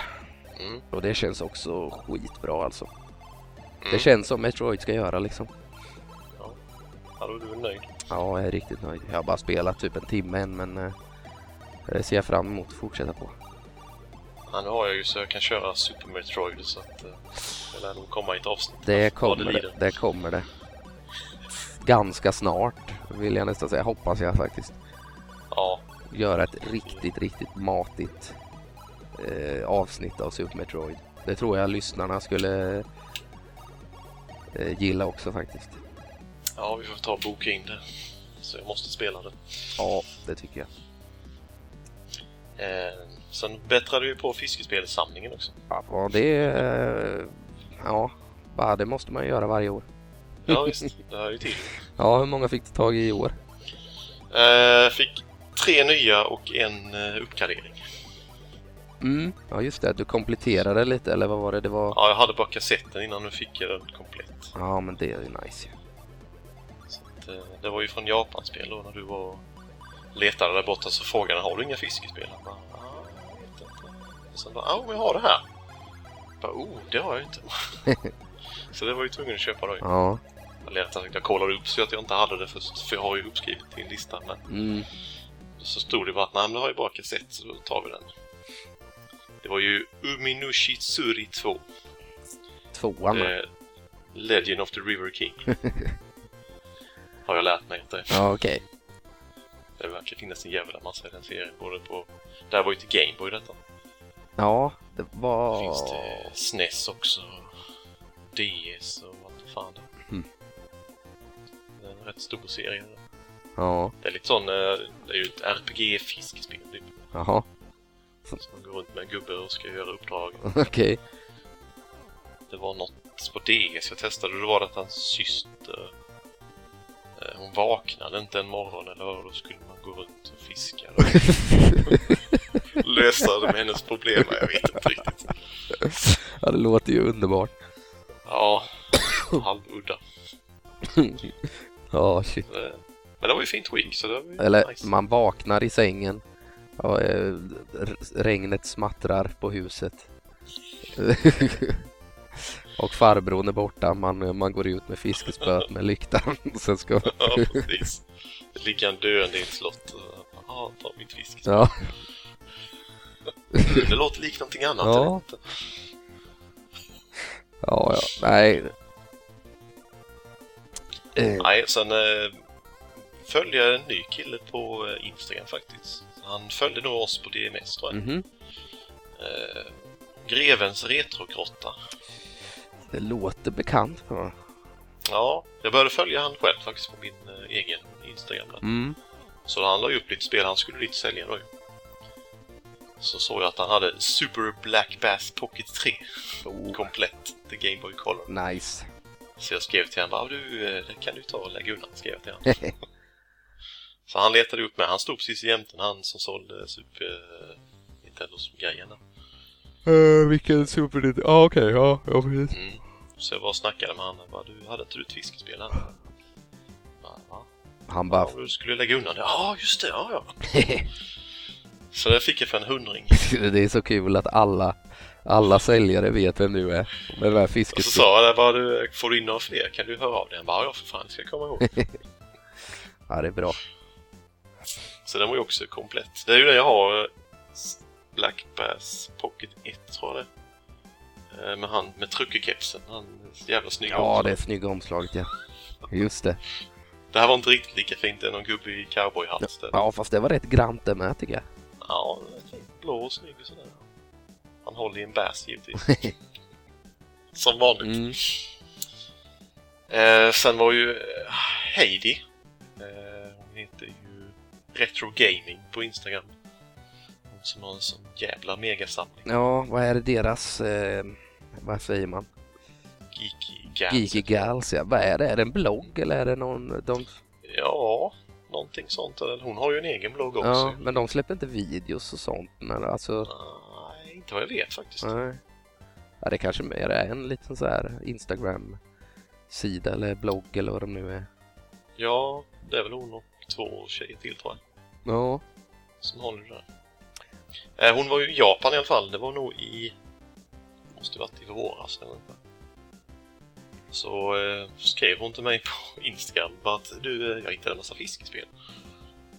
Mm.
Och det känns också skitbra alltså.
Mm.
Det känns som Metroid ska göra liksom.
Ja, då är du väl nöjd.
Ja, jag är riktigt nöjd. Jag har bara spelat typ en timme än, men eh, det ser jag fram emot att fortsätta på.
Ja, nu har jag ju så jag kan köra Super Metroid så att... eh, Det lär nog komma i ett avsnitt.
Det
Vad
kommer det,
lider.
det kommer det. ganska snart, vill jag nästan säga, hoppas jag faktiskt,
Ja,
göra ett riktigt, riktigt matigt eh, avsnitt av Super Metroid. Det tror jag lyssnarna skulle eh, gilla också faktiskt.
ja vi får ta och boka in det. Så jag måste spela det.
Ja, det tycker jag.
Eh, sen bättrade vi på fiskespelssamlingen också.
Ja, vad det... Eh, ja, bara det måste man ju göra varje år.
Ja visst, det hör ju till.
Ja, hur många fick du tag i i år?
Eh, fick tre nya och en eh, uppgradering.
Mm. Ja, just det. Du kompletterade lite, eller vad var det? Det var...
Ja, jag hade bara kassetten innan nu fick jag den komplett.
Ja, men det är ju nice.
Så att, eh, det var ju från Japanspel då när du var och letade där borta så frågade han har du inga fiskespel? Han bara, "Ah, jag vet inte. Och sen bara, ja men jag har det här. Jag bara, oh, det har jag inte. så det var ju tvungen att köpa då. ju.
Ja.
Eller rättare sagt, jag kollade upp så att jag inte hade det först, för jag har ju uppskrivet i en lista. Men
Mm.
så stod det bara att nej, men jag har ju bara kassett så då tar vi den. Det var ju Uminushi Tsuri 2.
Tvåan.
Eh, Legend of the River King. Har jag lärt mig att det,
Ja, okej.
det verkar finnas en jävla massa i den serien. Både på... Det här var ju till Gameboy detta.
Ja, det var...
Finns det SNES E också? DS och vad fan det är.
Mm.
Det är en rätt stor serie.
Ja,
Det är lite sån... eh, Det är ju ett RPG-fiskespel typ.
jaha.
Så man går runt med en gubbe och ska göra uppdrag.
Okej.
Det var något på DS jag testade. Då var det att hans syster... eh, Hon vaknade inte en morgon eller vad, då skulle man gå runt och fiska. Lösa det med hennes problem, jag vet inte riktigt.
ja, det låter ju underbart.
Ja, halvudda.
Ja, shit.
Eh, Men det var ju fint skick så det var ju
Eller,
nice.
man vaknar i sängen. Ja, eh, r- regnet smattrar på huset. Och farbrorn är borta. Man, man går ut med fiskespöet med lyktan. Sen ska...
Ja, precis. Det ligger en döende i ett slott. eh, Ja, ta mitt fisk.
Ja,
Det låter likt någonting annat.
Ja.
eller inte?
ja, ja. Nej. Eh,
Nej, sen eh, följde jag en ny kille på eh, Instagram faktiskt. Han följde nog oss på DMS tror jag.
mhm.
Eh, Grevens Retrogrotta.
Det låter bekant. Ja.
Ja, jag började följa han själv faktiskt på min eh, egen Instagram. där.
Mm.
Så han la ju upp lite spel han skulle dit sälja då ju. Så såg jag att han hade Super Black Bass Pocket 3
Oh,
komplett till Game Boy Color.
nice.
Så jag skrev till honom bara, "Ah, du, eh, det kan du ta och lägga undan, skrev jag till honom. Så han letade upp mig, han stod precis jämte han som sålde eh, Super Nintendo-grejerna.
Uh, vilken super... Ja, ah, okej. ja, ja, precis.
Mm. Så jag var och snackade med honom, bara, du hade inte du ett fiskespel här? Bara, "Va?
Han bara...
Ja, Du skulle lägga undan det? Ja, just det, ja, ja. Så det fick jag för en hundring.
det är så kul att alla, alla säljare vet vem du är. Med den här
Och så
fiskespö...
sa jag det bara, du, får du in några fler kan du höra av dig? Han bara, ja för fan, det ska jag komma ihåg.
Ja, det är bra.
Så den var ju också komplett. Det är ju den jag har. eh, Black Bass Pocket 1 tror jag det är. Eh, Med han med truckekepsen. Han är så jävla snygg
Ja,
också.
det är snygga omslaget ja. Just det.
det här var inte riktigt lika fint. Det är någon gubbe i cowboyhatt. där.
Ja, fast det var rätt grant det med tycker jag.
Ja, den är fin. blå och snygg och sådär. Han håller i en bass givetvis. Som vanligt.
Mm.
Eh, sen var ju eh, Heidi. Eh, hon heter ju Retro Gaming på Instagram. Hon som har en sån jävla megasamling.
Ja, vad är det deras... Eh, vad säger man?
Geeky Gadget.
Geeky Gals ja. Vad är det? Är det en blogg eller är det någon... De...
Ja, någonting sånt. Eller Hon har ju en egen blogg också.
Ja, men de släpper inte videos och sånt. Men alltså...
Nej, inte vad jag vet faktiskt.
Nej. Ja, det kanske mer är en liten så här Instagram-sida eller blogg eller vad de nu är.
Ja, det är väl hon och två tjejer till tror jag.
Ja.
Som håller det där. Eh, Hon var ju i Japan i alla fall. Det var nog i... Måste ju varit i våras eller något. Så eh, skrev hon till mig på Instagram bara att du, eh, jag hittade en massa fiskespel.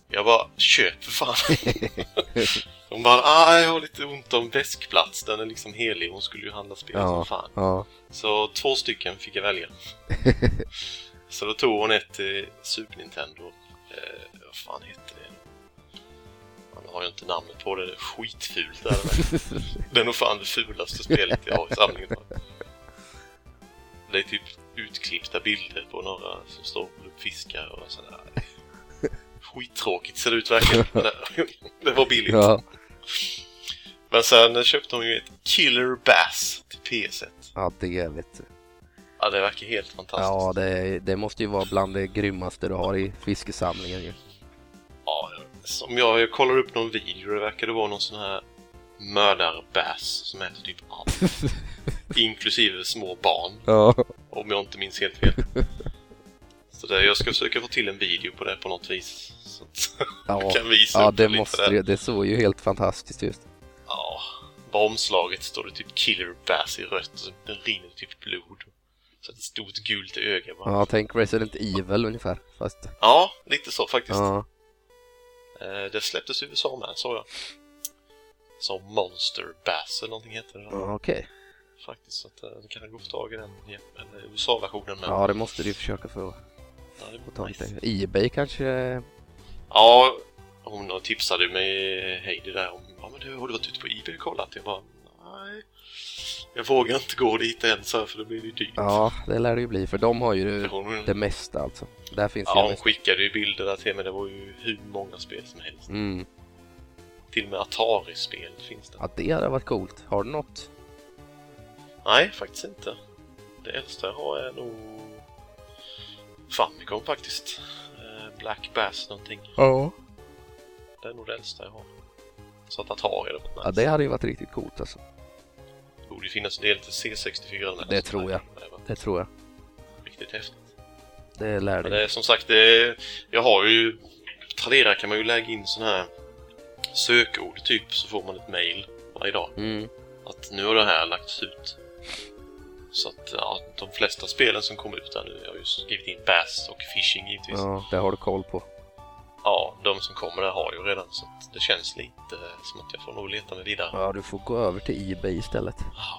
Jag bara, köp för fan! hon bara, ah, jag har lite ont om väskplats. Den är liksom helig. Hon skulle ju handla spel
Ja.
som fan.
Ja.
Så två stycken fick jag välja. Så då tog hon ett eh, Super Nintendo. Eh, vad fan hette det? Man har ju inte namnet på det. det är Skitfult är det. det är nog fan det fulaste spelet jag har i samlingen. Det är typ utklippta bilder på några som står och fiskar och sådär. Skittråkigt ser det ut verkligen. Men det- Det var billigt.
Ja.
Men sen köpte hon ju ett Killer Bass till PS1.
ja, det vet du.
Ja, det verkar helt fantastiskt.
Ja, det, det måste ju vara bland det grymmaste du har i fiskesamlingen ju.
Ja, som jag, jag kollar upp någon video, det verkade vara någon sån här mördarbass som äter typ allt. Inklusive små barn,
Ja.
om jag inte minns helt fel. Så det, jag ska försöka få till en video på det på något vis. Så att
Ja,
jag kan visa
ja
upp det
det
lite
måste
där.
ju. Det såg ju helt fantastiskt ut.
Ja, på omslaget står det typ Killer Bass i rött och så rinner det typ blod. Så ett stort gult öga bara.
Ja, tänk Resident Evil ungefär. Fast,
Ja, lite så faktiskt.
ja.
Eh, det släpptes i USA med, såg jag. Som Monster Bass eller någonting heter det.
ja, okej.
faktiskt. Så att eh, det kan gå att få tag i den ja, eller USA-versionen. Men, ja.
Ja, det måste du ju försöka få,
det
få
var
tag
nice.
i. Ebay kanske?
ja, hon tipsade mig, eh, Heidi där, om ja, men du, har du varit ute på Ebay och kollat? Jag bara, nej. Jag vågar inte gå dit än så här, för då blir det ju dyrt.
Ja, det lär det ju bli. För de har ju
Hon,
det mesta alltså. Där finns
ja,
ju...
hon
mest.
skickade ju bilder där till mig. Det var ju hur många spel som helst.
Mm.
Till och med Atari-spel finns det.
Ja, det hade varit coolt. Har du något?
Nej, faktiskt inte. Det äldsta jag har är nog Famicom faktiskt. Eh, Black Bass någonting.
Ja.
Det är nog det äldsta jag har. Så att Atari hade varit nice.
Ja, det hade ju varit riktigt coolt alltså.
Det borde ju finnas en del till C64 eller
Det tror jag.
Det var
Det tror jag.
riktigt häftigt.
Det lär
Men
det.
det är som sagt, det är, jag har ju... På Tradera kan man ju lägga in såna här sökord typ, så får man ett mail varje dag.
Mm.
Att nu har det här lagts ut. Så att ja, de flesta spelen som kommer ut där nu, jag har ju skrivit in Bass och Fishing givetvis. Ja.
Ja, det har du koll på.
de som kommer där har jag ju redan så att det känns lite eh, som att jag får nog leta mig vidare.
Ja, du får gå över till Ebay istället.
Ja,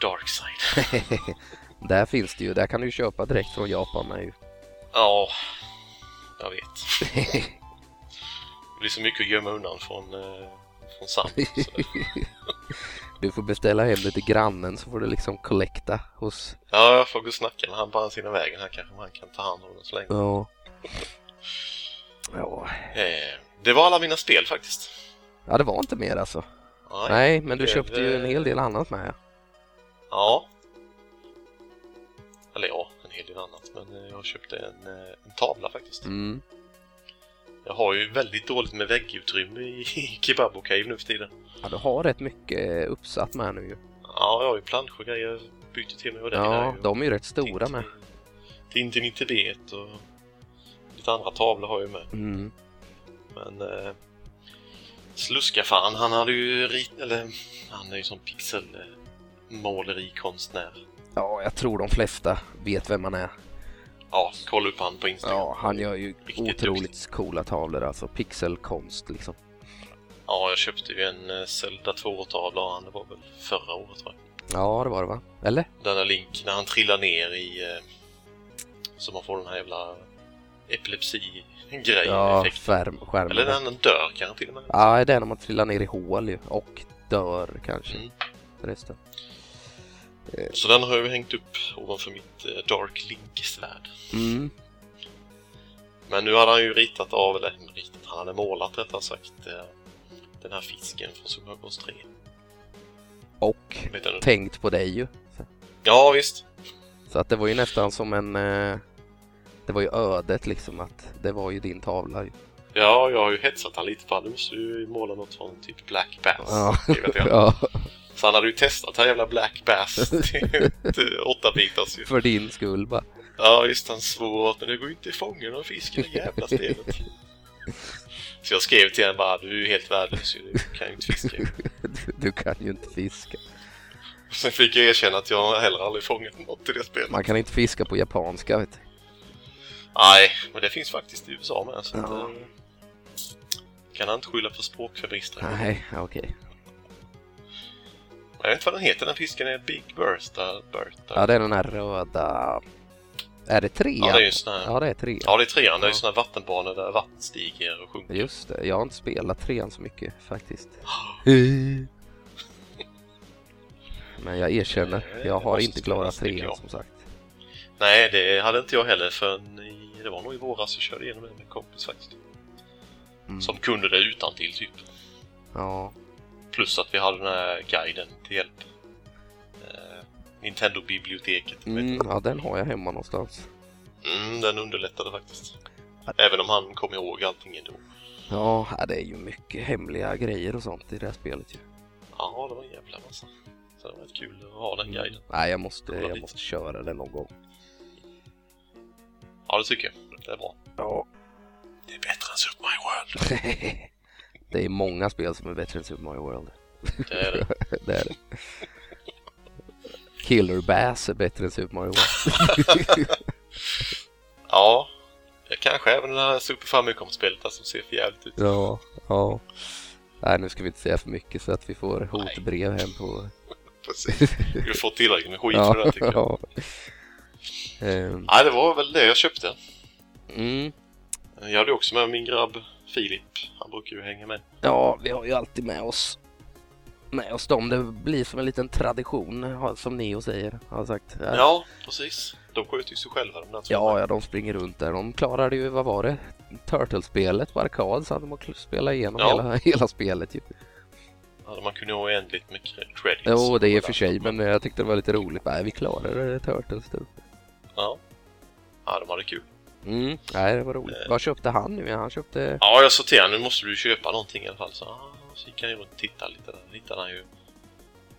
the dark side.
där finns det ju. Där kan du ju köpa direkt från Japan med ju.
Ja, jag vet. Det blir så mycket att gömma undan från, eh, från Sam. Så det-
du får beställa hem det till grannen så får du liksom collecta hos...
Ja, jag får gå och snacka med han på andra sidan vägen här kanske man kan ta hand om den så länge.
Ja. Ja.
Eh, det var alla mina spel faktiskt.
Ja, det var inte mer alltså.
Nej.
Nej, men du
det-
köpte ju en hel del annat med. ja.
Ja. Eller ja, en hel del annat. Men eh, jag köpte en, eh, en tavla faktiskt.
Mm.
Jag har ju väldigt dåligt med väggutrymme i, i Kebab och Cave nu för tiden.
Ja, du har rätt mycket uppsatt med nu ju.
Ja, jag har ju planscher och grejer. Jag byter till mig och det
Ja,
där.
de är ju rätt stora med.
Tintin i Tibet och lite andra tavlor har jag ju med.
Mm.
Men eh, Sluskafan, han hade ju rit... Eller han är ju som pixelmålerikonstnär.
Ja, jag tror de flesta vet vem man är.
Ja, kolla upp han på Instagram.
Ja, han gör ju
Riktigt
otroligt
duktig.
coola tavlor alltså. Pixelkonst liksom.
Ja, jag köpte ju en eh, Zelda 2-tavla av han, det var väl förra året tror jag.
Ja, det var det va? Eller?
Den där Link, när han trillar ner i... Eh, så man får den här jävla epilepsi-grejen.
Ja,
effekten.
skärm, skärmen.
Eller när han dör kanske till och med.
Ja, det är när man trillar ner i hål ju. Och dör kanske.
Mm.
Förresten.
Så den har jag ju hängt upp ovanför mitt eh, Dark Link-svärd.
Mm.
Men nu hade han ju ritat av, eller ritat, han hade målat rättare sagt eh, den här fisken från Superghost 3.
Och
Vet du?
tänkt på dig ju.
Ja visst!
Så att det var ju nästan som en... Eh, det var ju ödet liksom att det var ju din tavla ju.
Ja, jag har ju hetsat han lite på han. Du måste ju måla något från typ Black Bass.
Ja.
skriver jag till honom.
Ja,
Så han hade ju testat den här jävla Black Bass till till åtta bitars ju.
för din skull bara.
Ja visst, han svor åt men det går ju inte att fånga någon fisk i det jävla stenet. Så jag skrev till honom bara du är ju helt värdelös ju, du kan ju inte fiska.
Du- Du kan ju inte fiska.
Sen fick jag erkänna att jag heller aldrig fångat något i det spelet.
Man kan inte fiska på japanska vet du.
Nej, men det finns faktiskt i USA med. Så att,
Ja.
eh, kan han inte skylla på språkförbrister. Men
Nej, okej.
Jag vet inte vad den heter, den fisken är Big Bertha. Bertha.
Ja, det är den här röda... Är det trean?
Ja, det är ju sån här...
Ja, det är trean.
Ja, det är trean. Det är ju
Ja.
såna här vattenbanor där vattnet stiger och sjunker.
Just det, jag har inte spelat trean så mycket faktiskt. Men jag erkänner,
Nej,
jag
det
har
måste
inte klarat
spelas, tycker
trean
jag.
som sagt.
Nej, det hade inte jag heller förrän i, det var nog i våras jag körde igenom det med en kompis faktiskt.
Mm.
Som kunde det utan till typ.
Ja,
Plus att vi hade den här guiden till hjälp. Eh, Nintendo-biblioteket.
mm,
Mm.
ja, den har jag hemma någonstans.
Mm, den underlättade faktiskt. Även om han kom ihåg allting ändå.
Ja, ja, det är ju mycket hemliga grejer och sånt i det här spelet ju.
Ja, det var en jävla massa. Så det var rätt kul att ha
Mm.
den guiden.
Nej, jag måste,
Kolla
jag
lite.
måste köra den någon gång.
Ja, det tycker jag. Det är bra.
Ja.
Det är bättre än Super Mario World.
det är många spel som är bättre än Super Mario World.
Det är det.
det är det. Killer Bass är bättre än Super Mario World.
Ja, kanske även det här Super Famicom-spelet där som ser för jävligt ut.
Ja, ja. Nej, nu ska vi inte säga för mycket så att vi får hotbrev hem på...
Precis. Du får tillräckligt med skit för det här, tycker jag.
ja. Ehm,
Nej, det var väl det jag köpte.
mm.
Jag hade också med min grabb Filip. Han brukar ju hänga med.
Ja, vi har ju alltid med oss med oss dem. Det blir som en liten tradition, har- som Neo säger, har sagt.
Ja, precis. De sköter ju sig själva de där två.
Ja, ja, de springer runt där. De klarade ju, vad var det? Turtlespelet på arkad så att de har spelat igenom
Ja.
hela, hela spelet ju.
Hade man kunnat ha oändligt med cre- credits.
Jo, det är i och för sig, men jag tyckte det var lite roligt. Nej, vi klarade det, Turtles typ.
Ja. ja, de hade kul.
Mm, nej, det var roligt. Vad köpte han nu? Han köpte...
Ja, jag sa till honom nu måste du köpa någonting i alla fall. Så, ah, så gick han ju runt och tittade lite där. Då hittade han ju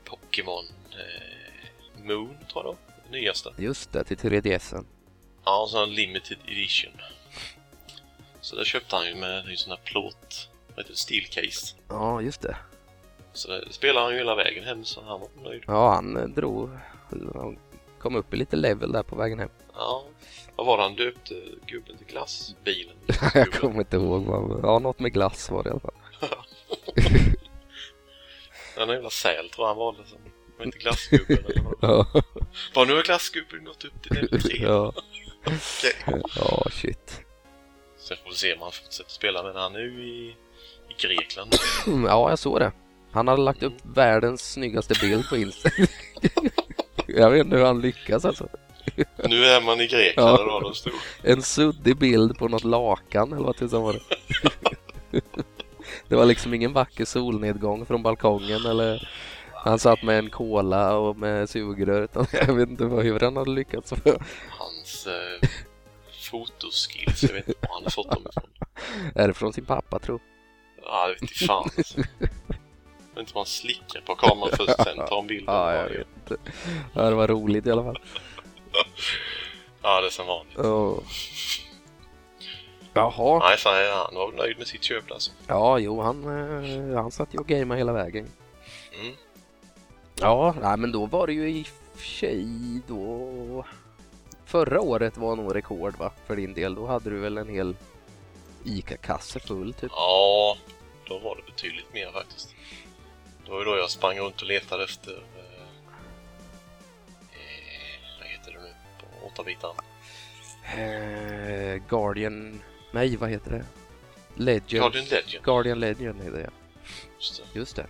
Pokémon eh, Moon, tror jag då. Nyaste.
Just det, till 3DSen.
Ja, och sån här limited edition. Så där köpte han ju med en sån här plåt. Vad heter det? Steel case.
Ja, just det.
Så det spelade han ju hela vägen hem så han var nöjd.
Ja, han eh, drog... Han kom upp i lite level där på vägen hem.
Ja. Vad var det han döpte gubben till? Glassbilen?
Jag kommer inte ihåg vad... Ja, något med glass var det i alla fall.
Den jävla säl tror jag han valde som. Var inte glassgubben eller vad?
Ja,
Var nu har glassgubben gått upp till level 3.
ja.
Okej.
ja shit.
Sen får vi se om han fortsätter spela men han är ju i, i Grekland.
Ja, jag såg det. Han hade lagt upp världens snyggaste bild på Instagram. jag vet inte hur han lyckas alltså.
Nu är man i Grekland
Ja.
och då stor.
En suddig bild på något lakan eller vad tusan var det? det var liksom ingen vacker solnedgång från balkongen eller han satt med en cola och med sugrör. utan Jag vet inte vad- hur han hade lyckats. med.
Hans eh, fotoskills, jag vet inte var han har fått dem ifrån.
Är det från sin pappa tro?
Ja, det vete fan alltså. Jag vet inte om han slickar på kameran först sen tar en bild.
Ja, jag vet inte. Ja, det var roligt i alla fall.
ja, det är som vanligt.
Oh. Jaha.
Nej, så han- han var väl nöjd med sitt köp alltså.
Ja, jo, han, eh, han satt ju och gamade hela vägen.
Mm.
Ja, nej, men då var det ju i och för sig då... Förra året var nog rekord va, för din del. Då hade du väl en hel ICA-kasse full typ.
Ja, då var det betydligt mer faktiskt. Det var ju då jag sprang runt och letade efter... Eh, eh, vad heter det nu? På åtta bitar.
Eh, Guardian... Nej, vad heter det? Legend.
Guardian Legend.
Guardian Legend heter det,
Just det.
just det.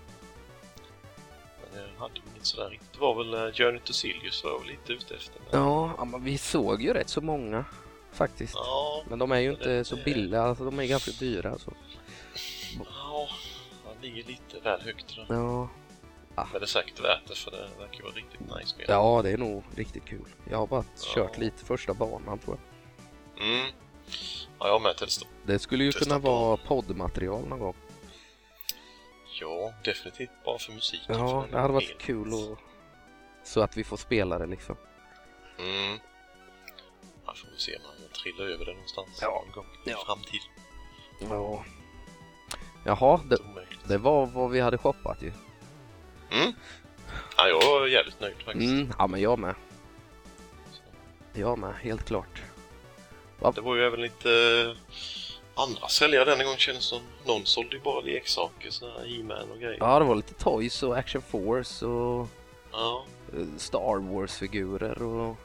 Men jag hade ju inget sådär riktigt. Det var väl eh, Journey to Silius var jag väl lite ute efter. Men...
Ja, ja, men vi såg ju rätt så många faktiskt.
Ja,
Men de är ju inte
Det-
så billiga, alltså, de är ganska dyra. Alltså.
ja. Han ligger lite väl högt där.
Ja.
Men det är säkert värt det för det verkar ju vara riktigt nice spel.
ja, det är nog riktigt kul. Jag har bara kört
Ja.
lite första banan tror jag.
Mm. Ja, jag har med testat.
Det skulle ju
Testa
kunna
på.
vara poddmaterial någon gång.
Ja, definitivt bara för musiken. för
Ja,
den
det hade varit
helt-
kul och... Så att vi får spela det liksom.
Mm. Här får vi se om han trillar över det någonstans.
Ja.
Någon gång
Ja.
I framtiden.
Ja. Jaha, det,
Omöjligt. Mm.
det var vad vi hade shoppat ju.
Ja, jag är jävligt nöjd faktiskt.
Mm, ja men jag med. Jag med, helt klart.
Det var ju även lite eh, andra säljare denna gång kändes som. Någon sålde ju bara leksaker, sådana här He-Man och grejer. Ja.
Ja, det var lite Toys och Action Force och
ja.
eh, Star Wars-figurer och...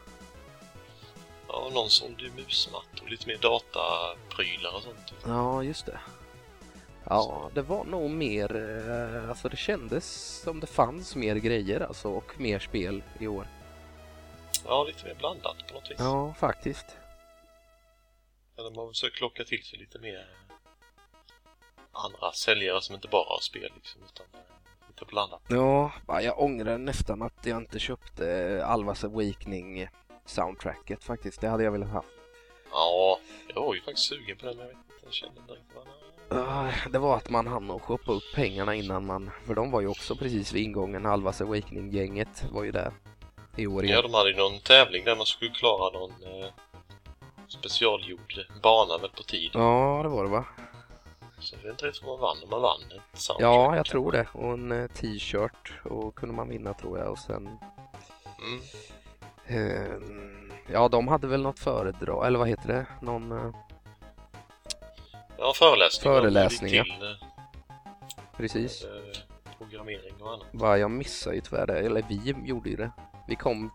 Ja, någon sålde ju musmatt och lite mer dataprylar och sånt.
Ja, just det. Ja, det var nog mer, eh, alltså det kändes som det fanns mer grejer alltså och mer spel i år.
Ja, lite mer blandat på något vis.
Ja, faktiskt.
Eller man försöker locka till sig lite mer eh, andra säljare som inte bara har spel liksom, utan lite blandat.
Ja, ja, jag ångrar nästan att jag inte köpte eh, Alvas Awakening soundtracket faktiskt. Det hade jag velat ha.
Ja, jag var ju faktiskt sugen på den, men jag vet inte, jag kände inte riktigt vad den-
Ah, Det var att man hann och shoppa upp pengarna innan man, för de var ju också precis vid ingången, Alvas Awakening-gänget var ju där i år
Ja,
igen.
de hade ju någon tävling där man skulle klara någon eh, specialgjord bana väl på tid.
Ja, det var det va?
Så jag vet inte riktigt vad man vann, om man vann ett soundtrack.
Ja, jag tror det. Och en eh, t-shirt och kunde man vinna tror jag och sen
Mm.
Eh, Ja, de hade väl något föredrag, eller vad heter det? Någon... eh,
Ja, föreläsningar.
Föreläsningar.
Det gick Till, eh,
Precis.
eh, programmering och annat.
Va, jag missade ju tyvärr det, eller vi gjorde ju det. Vi kom...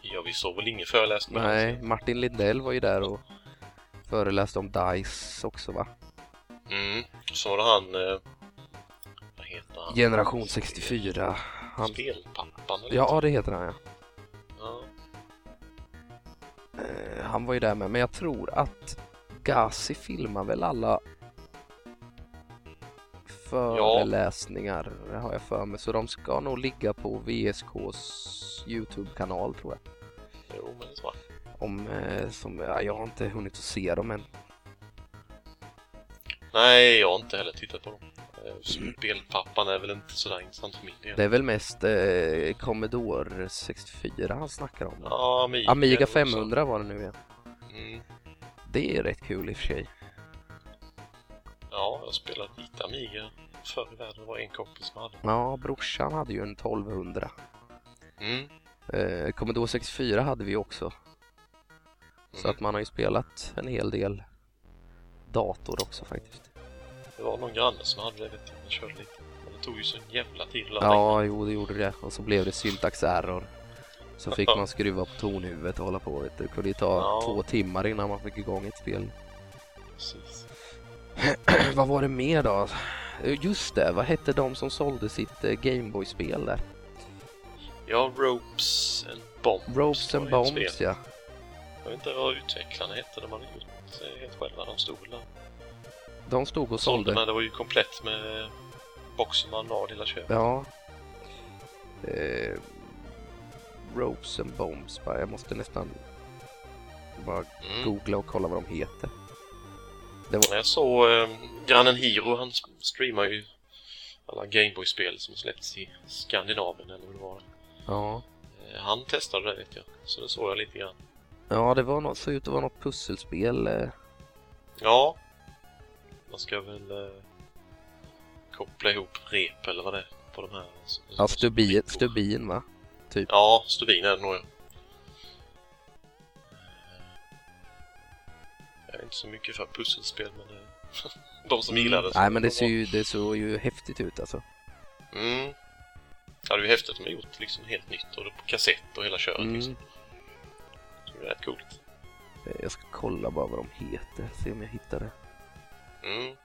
Ja, vi såg väl ingen föreläsning.
Nej, Martin Lindell var ju där och föreläste om DICE också va?
Mm. Så var det han... Eh, vad heter han?
Generation 64. Han...
Spelpappan eller
Ja, det heter han ja.
något. ja.
Eh, Han var ju där med, men jag tror att Gazi filmar väl alla föreläsningar, har jag för mig. Så de ska nog ligga på VSKs Youtube-kanal tror jag.
Jo, men det tror jag.
om eh, som ja, jag har inte hunnit att se dem än.
Nej, jag har inte heller tittat på dem. Eh, Spelpappan är väl inte sådär intressant för min del.
Det är väl mest eh, Commodore 64 han snackar om.
Ja, Amiga,
Amiga
också.
500 var det nu igen.
Mm.
Det är rätt kul i och för sig.
Ja, jag spelade lite Amiga förr i världen. Det var en kompis som hade.
Ja, brorsan hade ju en 1200.
Mm.
Eh, Commodore 64 hade vi också. Så
Mm.
att man har ju spelat en hel del dator också faktiskt.
Det var någon granne som hade det. Vet jag, jag körde lite. Men det tog ju sån jävla tid att ladda in.
Ja, jo det gjorde det. Och så blev det syntax error. Så fick man skruva på tonhuvudet och hålla på. Vet du. Det kunde ju ta
Ja.
två timmar innan man fick igång ett spel.
Precis.
Vad var det mer då? Eh, Just det, vad hette de som sålde sitt eh, Gameboy-spel där?
Ja, Ropes and Bombs.
Ropes and
var ett spel.
Bombs ja.
Jag vet inte vad utvecklarna hette. De hade gjort eh, helt själva. De stod väl där.
De stod och
sålde.
sålde.
Men det var ju komplett med boxen man har hela köpet.
Ja. Eh, Ropes and Bombs, bara. jag måste nästan bara
Mm.
googla och kolla vad de heter.
Jag såg eh, grannen Hiro, han s- streamar ju alla Gameboy-spel som släppts i Skandinavien eller vad det var.
Ja.
Eh, han testade det vet jag, så det såg jag lite grann.
Ja, det var något, såg ut att vara något pusselspel. eh.
Ja, man ska väl eh, koppla ihop rep eller vad det är på de här. s-
Ja, stubin, stubin va?
Ja, stubin är det nog ja. Jag är inte så mycket för pusselspel men eh, de som gillar det. så-
Mm. Nej, men det,
de
ser ju, det såg ju häftigt ut alltså.
Mm. Ja, det är ju häftigt att de har gjort liksom helt nytt och det är på kassett och hela köret
Mm.
liksom. Det är rätt coolt.
Eh, Jag ska kolla bara vad de heter, se om jag hittar det.
Mm.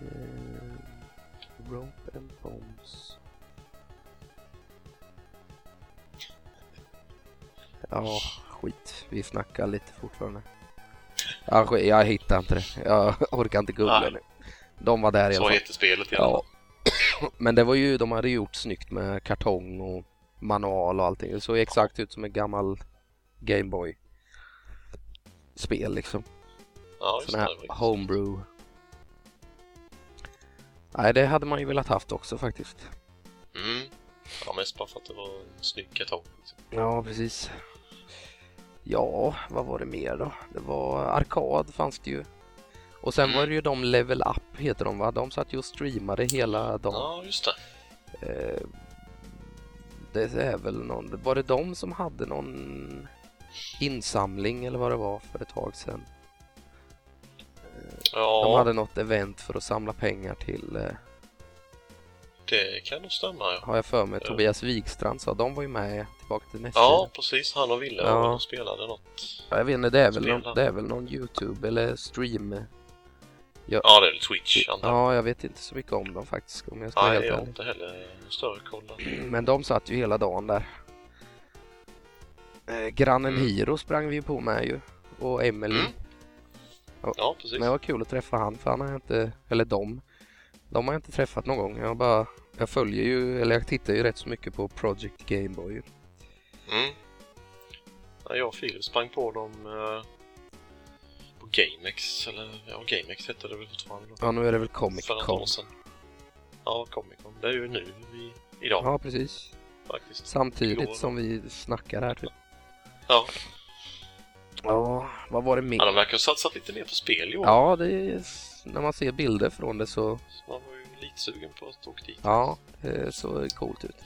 Eh, Rope and Bombs. Ja, skit. Vi snackar lite fortfarande. Ja, skit, jag hittar inte det. Jag orkar inte googla
Nej.
nu. De var där i alla
Så
fall.
heter spelet i alla
Ja.
fall.
Men det var ju, de hade gjort snyggt med kartong och manual och allting. Det såg exakt ut som en gammal Gameboy spel liksom.
Ja, just
Sån här
det. det var-
homebrew. Nej, det hade man ju velat haft också faktiskt.
Mm. Ja, mest bara för att det var en snygg kartong. Liksom.
Ja, precis. Ja, vad var det mer då? Det var arkad fanns det ju. Och sen
Mm.
var det ju de Level Up heter de va? De satt ju och streamade hela dagen.
Ja, just det.
Eh, det är väl någon... Var det de som hade någon insamling eller vad det var för ett tag sedan?
Ja,
De hade något event för att samla pengar till eh,
Det kan nog stämma, ja.
har jag för mig. Tobias Wikstrand sa, de var ju med tillbaka till nästa.
Eh. Ja, precis. Han och Ville
Ja.
ja. spelade något.
Ja, jag vet inte, det är, väl
Spela.
någon, det är väl någon YouTube eller stream.
Ja, det är väl Twitch, antar jag.
Ja, jag vet inte så mycket om dem faktiskt om jag ska vara
Nej,
helt
jag har
ärlig.
inte heller någon större koll. där.
Men de satt ju hela dagen där. Eh, grannen
Mm.
Hiro sprang vi ju på med ju. Och Emily.
Mm, Ja, precis.
Men det var kul att träffa han för han har jag inte, eller dem. De har jag inte träffat någon gång. Jag bara, jag följer ju, eller jag tittar ju rätt så mycket på Project Gameboy. ju.
Mm. Ja, jag och Filip sprang på dem eh, på GameX, eller ja, GameX hette det väl fortfarande då.
Ja, nu är det väl Comic
För något
Con.
år sedan. Ja, Comic Con. Det är ju nu, vi, idag
Ja, precis.
faktiskt. Igår.
Samtidigt som vi snackar här typ.
Ja.
Ja, vad var det
ja,
mer?
de verkar ha satsat lite mer på spel i år.
Ja, det är, när man ser bilder från det så,
Så man var ju lite sugen på att åka dit.
ja, det såg coolt ut.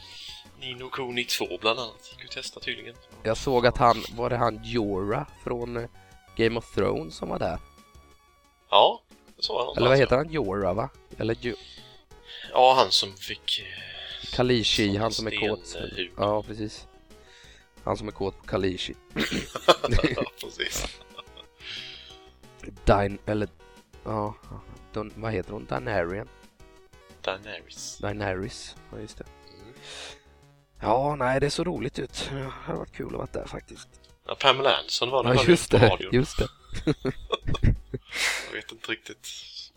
Nino Kuni 2 bland annat gick ju att testa tydligen.
Jag såg att han, var det han Jorah från eh, Game of Thrones som var där?
Ja, det sa jag någonstans.
Eller vad heter han? Jorah va? Eller jo-
Ja, han som fick... eh,
Kalishi,
Som
han som är
sten,
kåt.
eh, huvud.
Ja, precis. Han som är kåt på Kalishi.
ja, precis.
Dine, eller ja, Don, vad heter hon? Dinarian?
Daenerys.
Dinaris, ja just det.
Mm.
Ja, nej det såg roligt ut. Det hade varit kul att vara där faktiskt.
Ja, Pamela Anderson var det
Ja,
hörde
just
jag på
det,
radion.
just det.
Jag vet inte riktigt.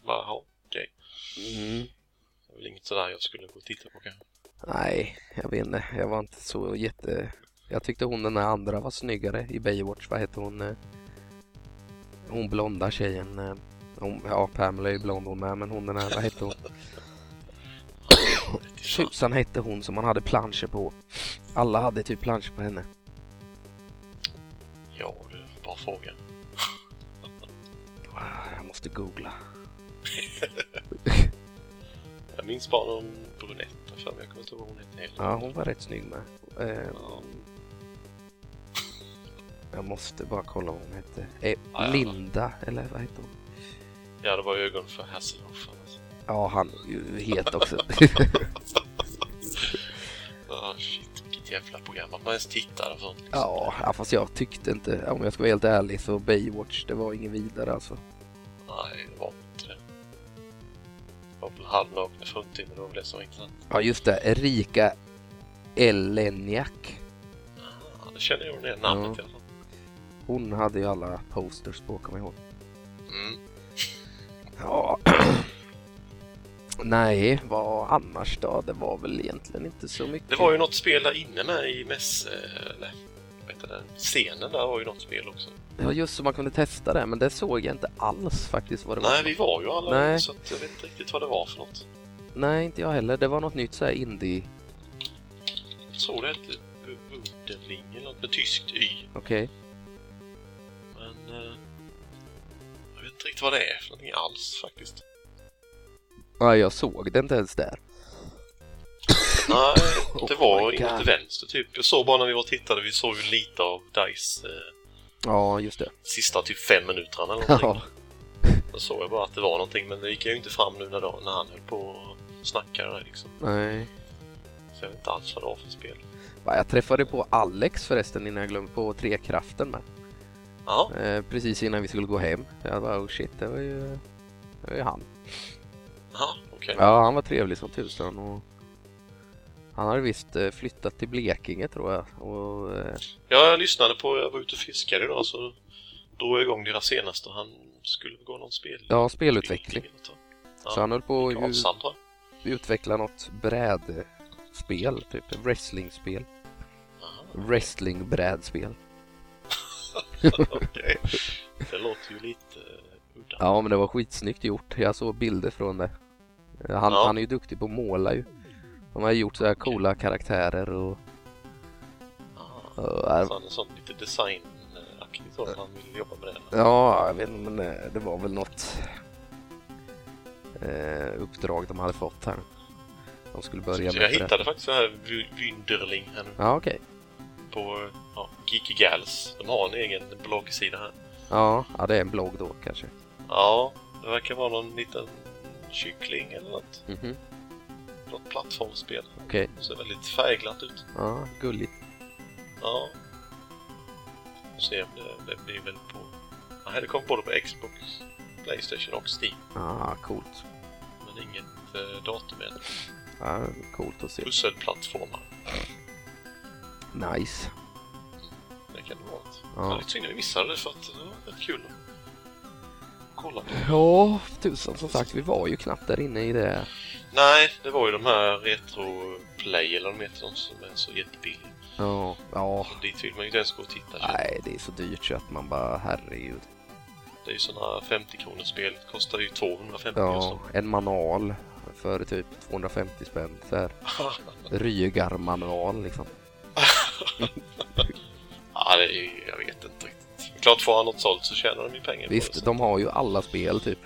Bara, ja, okej.
Mm.
Det är väl inget sådär jag skulle gå och titta på kanske.
Nej, jag vet inte. Jag var inte så jätte... Jag tyckte hon den där andra var snyggare i Baywatch. Vad heter hon? eh? Hon blonda tjejen. eh, Hon, ja, Pamela är ju blond hon med, men hon den här, vad hette hon? Susan hette hon som man hade planscher på. Alla hade typ planscher på henne.
Ja, det är en bra fråga.
Ah, Jag måste googla.
Jag minns bara någon brunett där framme. Jag kommer inte ihåg vad hon hette heller.
Ja, hon var rätt snygg med. Eh,
Ja,
Jag måste bara kolla vad hon hette.
ja, ja.
Eh, Linda, eller vad hette hon?
Jag hade bara ögon för Hasselhoff. alltså.
Ja, han är ju het också.
Ja, shit. Vilket jävla program. Att man ens tittar och sånt. liksom.
Ja, ja, fast jag tyckte inte, om jag ska vara helt ärlig, så Baywatch, det var ingen vidare alltså.
Nej, det var inte det. Det var väl halvnakna fruntimmer. Det var väl det som var intressant.
Ja, just det, Erika Eleniak.
Ja, det känner jag igen namnet
Ja.
i alla fall.
Hon hade ju alla posters på, kommer jag ihåg.
Mm.
Ja. Nej, vad annars då? Det var väl egentligen inte så mycket.
Det var ju något spel där inne med i mäss... Eller vad heter det? Scenen där var ju något spel också.
Ja, just så man kunde testa det, men det såg jag inte alls faktiskt vad det
Nej,
var.
vi var ju alla
Nej.
Nej. så att jag vet inte riktigt vad det var för något.
Nej, inte jag heller. Det var något nytt så här indie.
Jag tror det hette Wunderling eller något med tyskt Y.
Okej.
Men... Eh, jag vet inte riktigt vad det är för någonting alls faktiskt.
Nej, jag såg det inte ens där.
Nej, det var
Oh my
inte
God.
vänster typ. Jag såg bara när vi var och tittade, vi såg ju lite av Dice eh,
Ja, just det.
sista typ fem minuterna eller någonting.
Ja,
Då såg jag bara att det var någonting men det gick jag ju inte fram nu när, när han höll på och snackade där liksom.
nej.
Så jag vet inte alls vad det var för spel.
Va, jag träffade på Alex förresten innan jag glömde på Trekraften med.
Ja,
Eh, precis innan vi skulle gå hem. Jag bara oh shit, det var ju, det var ju han.
ja okej.
Ja, han var trevlig som tusan och han hade visst eh, flyttat till Blekinge tror jag. Och, eh,
Ja, jag lyssnade på, jag var ute och fiskade idag så drog jag igång deras senaste. Han skulle gå någon spel...
ja, spelutveckling.
Ja.
Så han höll på att ju-
Karlshamn tror jag.
utveckla något brädspel, typ wrestlingspel.
Aha,
Wrestlingbrädspel.
Okej. Det låter ju lite eh, udda.
Ja, men det var skitsnyggt gjort. Jag såg bilder från det. Eh, Han,
Ja.
han är ju duktig på att måla ju. De har gjort så här coola karaktärer och...
Ah,
och eh,
Så han är sån lite designaktig så. Han vill jobba med det.
Ja, jag vet inte, men eh, det var väl något eh, uppdrag de hade fått här. De skulle börja
Så
med
jag
det.
hittade faktiskt den här Vy- Wynderling här nu
Ja, okej.
på eh, ja, Geeky Gals. De har en egen bloggsida här.
Ja, ja, det är en blogg då kanske.
Ja, det verkar vara någon liten kyckling eller något.
Mhm.
något plattformsspel.
Okej.
Det ser väldigt färgglatt ut.
Ja, gulligt.
Ja. Får se om det, det blir väl på... Nej, det kommer både på Xbox, Playstation och Steam.
Ah, coolt.
Men inget eh, datum än.
Ja, coolt att se.
Pusselplattformar.
Nice.
Det kan det vara. Ett.
Ja.
Ja. Lite synd att vi missade det för att det var rätt kul att kolla på.
Ja, tusan som sagt, vi var ju knappt där inne i det.
Nej, det var ju de här Retro Play eller vad de heter, de som är så jättebilliga.
Ja, ja.
Och dit vill man ju inte ens gå och titta. känner jag.
Nej, det är så dyrt så att man bara, herregud.
Det är ju sådana 50 kronors spel. Det kostar ju 250
Ja,
ja.
en manual för typ 250 spänn. Så här, Rygar-manual liksom.
ja, det är ju, jag vet inte riktigt. Klart får han något sålt så tjänar de ju pengar på det.
Visst,
så-
de har ju alla spel typ.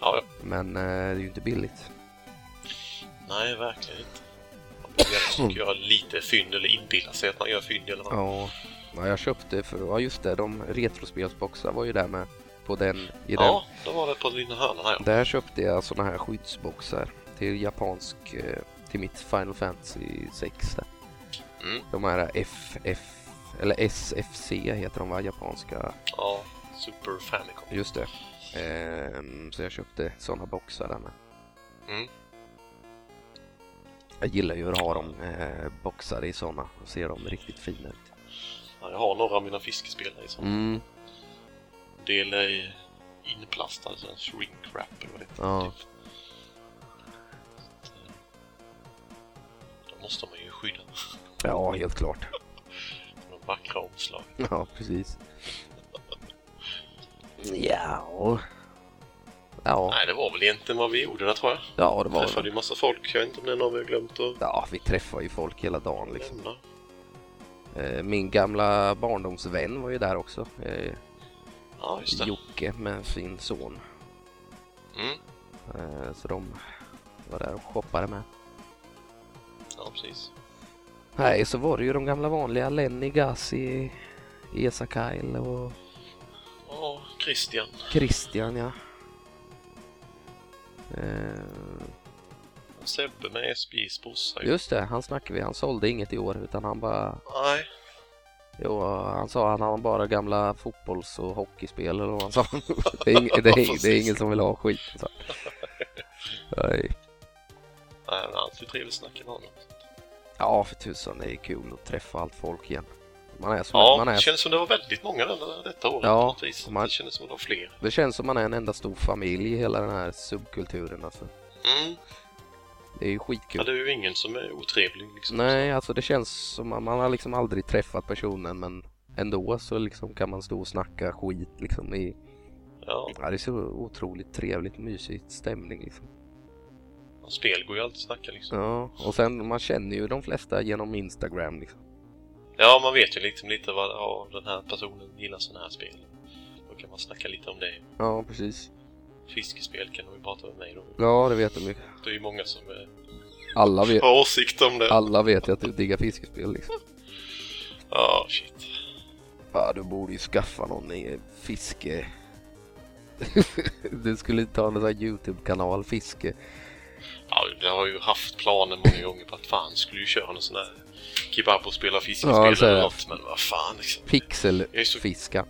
Ja, ja.
Men eh, det är ju inte billigt.
Nej, verkligen inte. Man borde gärna
Mm.
försöka göra lite fynd eller inbilla sig att man gör fynd eller något.
Ja. ja, jag köpte för, ja just det, de retrospelsboxar var ju där med. På den, i den.
Ja, då var det på lilla hörnan här ja.
Där köpte jag såna här skyddsboxar till japansk, eh, till mitt Final Fantasy 6 där.
Mm.
De här FF, eller SFC heter de va, japanska.
ja. Super Famicom.
Just det. Ehm, så jag köpte såna boxar där med.
Mm.
Jag gillar ju att ha dem eh, boxade i såna och ser dem riktigt fina ut.
Ja, jag har några av mina fiskespel här i sån
Mm,
del är inplastad, sån alltså shrink wrap eller vad det heter.
ja.
Typ. eh, Då måste man ju skydda
ja, helt klart.
de vackra omslagen.
Ja, precis. Ja. Ja,
Nej, det var väl egentligen vad vi gjorde där tror jag.
ja det var
Träffade ju massa folk. Jag vet inte om det är någon vi har glömt att
Ja, vi träffar ju folk hela dagen liksom.
nämna.
Eh, Min gamla barndomsvän var ju där också. eh,
Ja, just det.
Jocke med sin son.
Mm.
Eh, Så de var där och shoppade med.
Ja, precis.
Nej, så var det ju de gamla vanliga Lenny, Gassi, Esa Kyle och
Ja, Christian.
Christian ja. Eh,
Sebbe med SBI's brorsa. ju.
Just det, han snackade vi. Han sålde inget i år utan han bara...
Nej,
Jo, han sa han har bara gamla fotbolls och hockeyspel eller vad han sa. det, är ing, det, är, det är ingen som vill ha skit. Så. Nej.
nej, men alltid trevligt snack med honom.
Ja, för tusan. Det är kul att träffa allt folk igen. Man är som,
Ja,
man är,
det kändes som det var väldigt många där detta året
Ja,
på något vis.
man-
Det kändes som det var fler.
det känns som man är en enda stor familj i hela den här subkulturen. Alltså.
Mm.
Det är ju
Ja,
skitkul.
det är ju ingen som är otrevlig liksom.
Nej, alltså det känns som man, man har liksom aldrig träffat personen men ändå så liksom kan man stå och snacka skit liksom i
Ja,
Ja, det är så otroligt trevligt, mysigt stämning liksom.
och spel går ju alltid att snacka liksom.
Ja, och sen man känner ju de flesta genom Instagram liksom.
Ja, man vet ju liksom lite vad ja, den här personen gillar sådana här spel. Då kan man snacka lite om det.
Ja, precis.
Fiskespel kan de ju prata med mig då.
Ja, det vet de ju.
Det är ju många som eh,
Alla vet,
har åsikt om det.
alla vet ju att du diggar fiskespel liksom.
Ja, shit.
Ja, du borde ju skaffa någon eh, fiske... du skulle ta en sån här YouTube-kanal, fiske.
Ja, jag har ju haft planer många gånger på att fan skulle ju köra någon sån där kebab och spela
Ja,
fiskespel
så är
eller
det.
något. Men vad fan liksom. Jag är så-
Pixelfiska.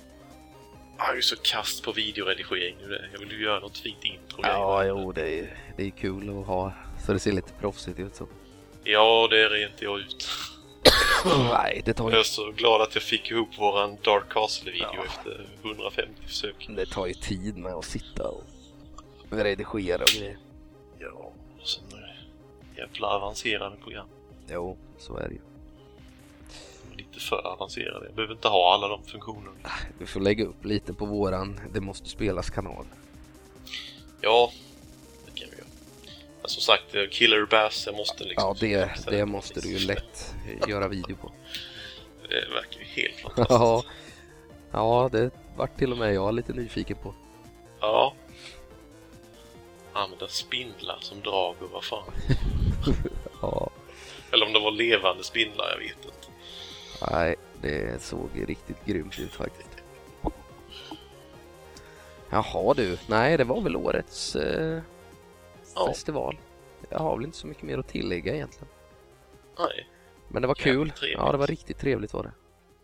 Jag är ju så kast på videoredigering nu. det. Jag vill ju göra något fint intro.
Ja, jo, det är, det är kul att ha. Så det ser lite proffsigt ut så.
ja, det är inte jag ut.
Nej, det tar
Jag
ju,
är så glad att jag fick ihop våran Dark Castle-video
Ja.
efter 150 försök.
det tar ju tid med att sitta och redigera och grejer.
Ja, och sen eh, jävla avancerade program.
Jo, så är det ju.
Lite för avancerade. Jag behöver inte ha alla de funktionerna.
Vi får lägga upp lite på våran Det måste spelas kanal.
Ja, det kan vi göra. Men som sagt, eh, Killer Bass, jag måste liksom...
Ja, det, det måste du ju lätt göra video på.
Det verkar ju helt fantastiskt.
Ja, ja det vart till och med jag lite nyfiken på.
ja. Använda spindlar som drag och vad fan.
Ja,
Eller om det var levande spindlar, jag vet inte.
nej, det såg ju riktigt grymt ut faktiskt. Jaha du, nej det var väl årets eh,
Ja.
festival. jag har väl inte så mycket mer att tillägga egentligen.
Nej.
Men det var kul.
Jävligt trevligt.
Ja, det var riktigt trevligt var det.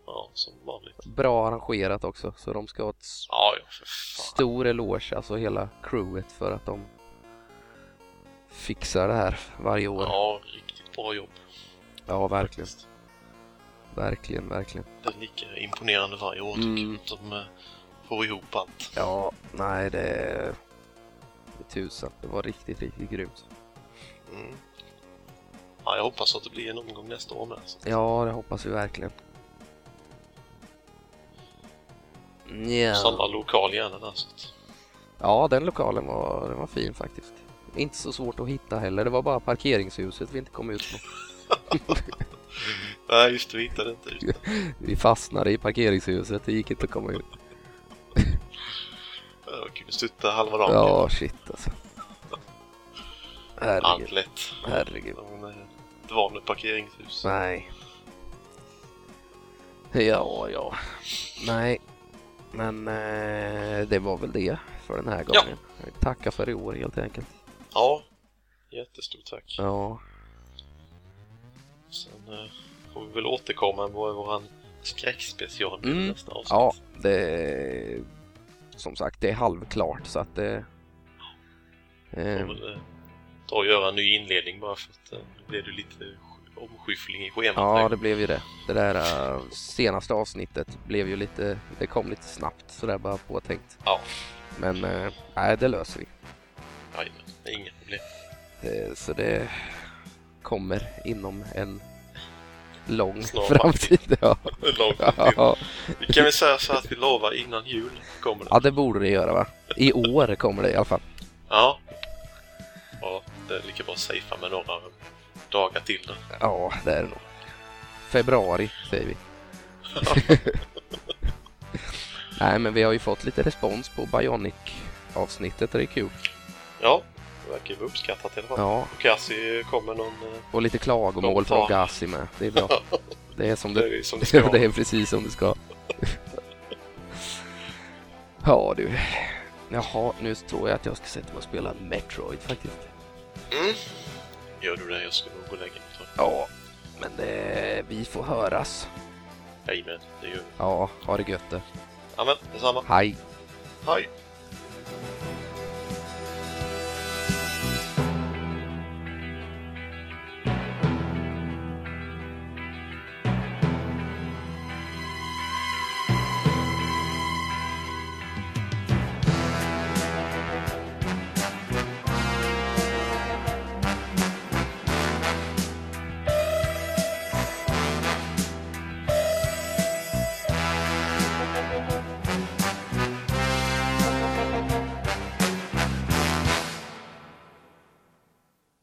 Ja, som vanligt.
Bra arrangerat också, så de ska ha ett s-
Ja, ja, för fan.
stor eloge, alltså hela crewet, för att de fixar det här varje år. Ja,
Ja, riktigt bra jobb.
verkligen. Verkligen, verkligen.
Det är lika imponerande varje år
Mm.
tycker jag. att De eh, får ihop allt.
Ja, nej det... är- det är Tusan, det var riktigt, riktigt grymt.
Mm. Ja, jag hoppas att det blir en omgång nästa år med. alltså. Så.
Ja, det hoppas vi verkligen.
Samma
Nja.
lokal gärna där. Så att...
Ja, den lokalen var, den var fin faktiskt. Inte så svårt att hitta heller, det var bara parkeringshuset vi inte kom ut på.
Nej, just det. Vi hittade inte ut.
Vi fastnade i parkeringshuset, det gick inte att komma ut.
Jag kunde stutta halva dagen.
Ja, shit alltså.
Allt
Herregud,
lätt.
herregud.
Men, eh, Det var nu parkeringshus.
Nej. Ja, ja. Nej. Men eh, det var väl det för den här
Ja.
gången. Vi Tackar för i år helt enkelt.
Ja, jättestort tack.
Ja,
Sen eh, får vi väl återkomma med vår våran skräckspecial i
Mm.
nästa avsnitt.
ja det... Som sagt, det är halvklart så att det...
Får
Eh,
väl, eh, ta och göra en ny inledning bara för att eh, nu blev det lite sk- omskyffling i schemat.
ja,
där.
det blev ju det. Det där eh, senaste avsnittet blev ju lite... Det kom lite snabbt sådär bara påtänkt.
Ja.
Men eh, nej, det löser vi.
Jajamän, inga problem.
Eh, Så det kommer inom en lång
Snar
framtid. Ja.
Långt till.
Ja.
Vi kan väl säga så att vi lovar innan jul kommer det.
ja, det borde det göra va? I år kommer det i alla fall.
Ja. Ja, det är lika bra att safea med några eh, dagar till då.
Ja, det är det nog. Februari säger vi. Nej, men vi har ju fått lite respons på Bionic-avsnittet och det är kul.
Ja, det verkar ju vara uppskattat i alla fall.
Ja,
Och Cassie kommer någon... eh,
och lite klagomål från Gassi med. Det är bra. Det är som
Det
det,
är som det ska
det
vara.
är precis som det ska. Ja du. Jaha, nu tror jag att jag ska sätta mig och spela Metroid faktiskt.
Gör du det? Jag ska nog gå och lägga mig. tror jag.
Ja, men det, vi får höras.
Jajamän, det gör vi.
Ja, ha det gött du.
Ja, men detsamma.
Hej!
Hej!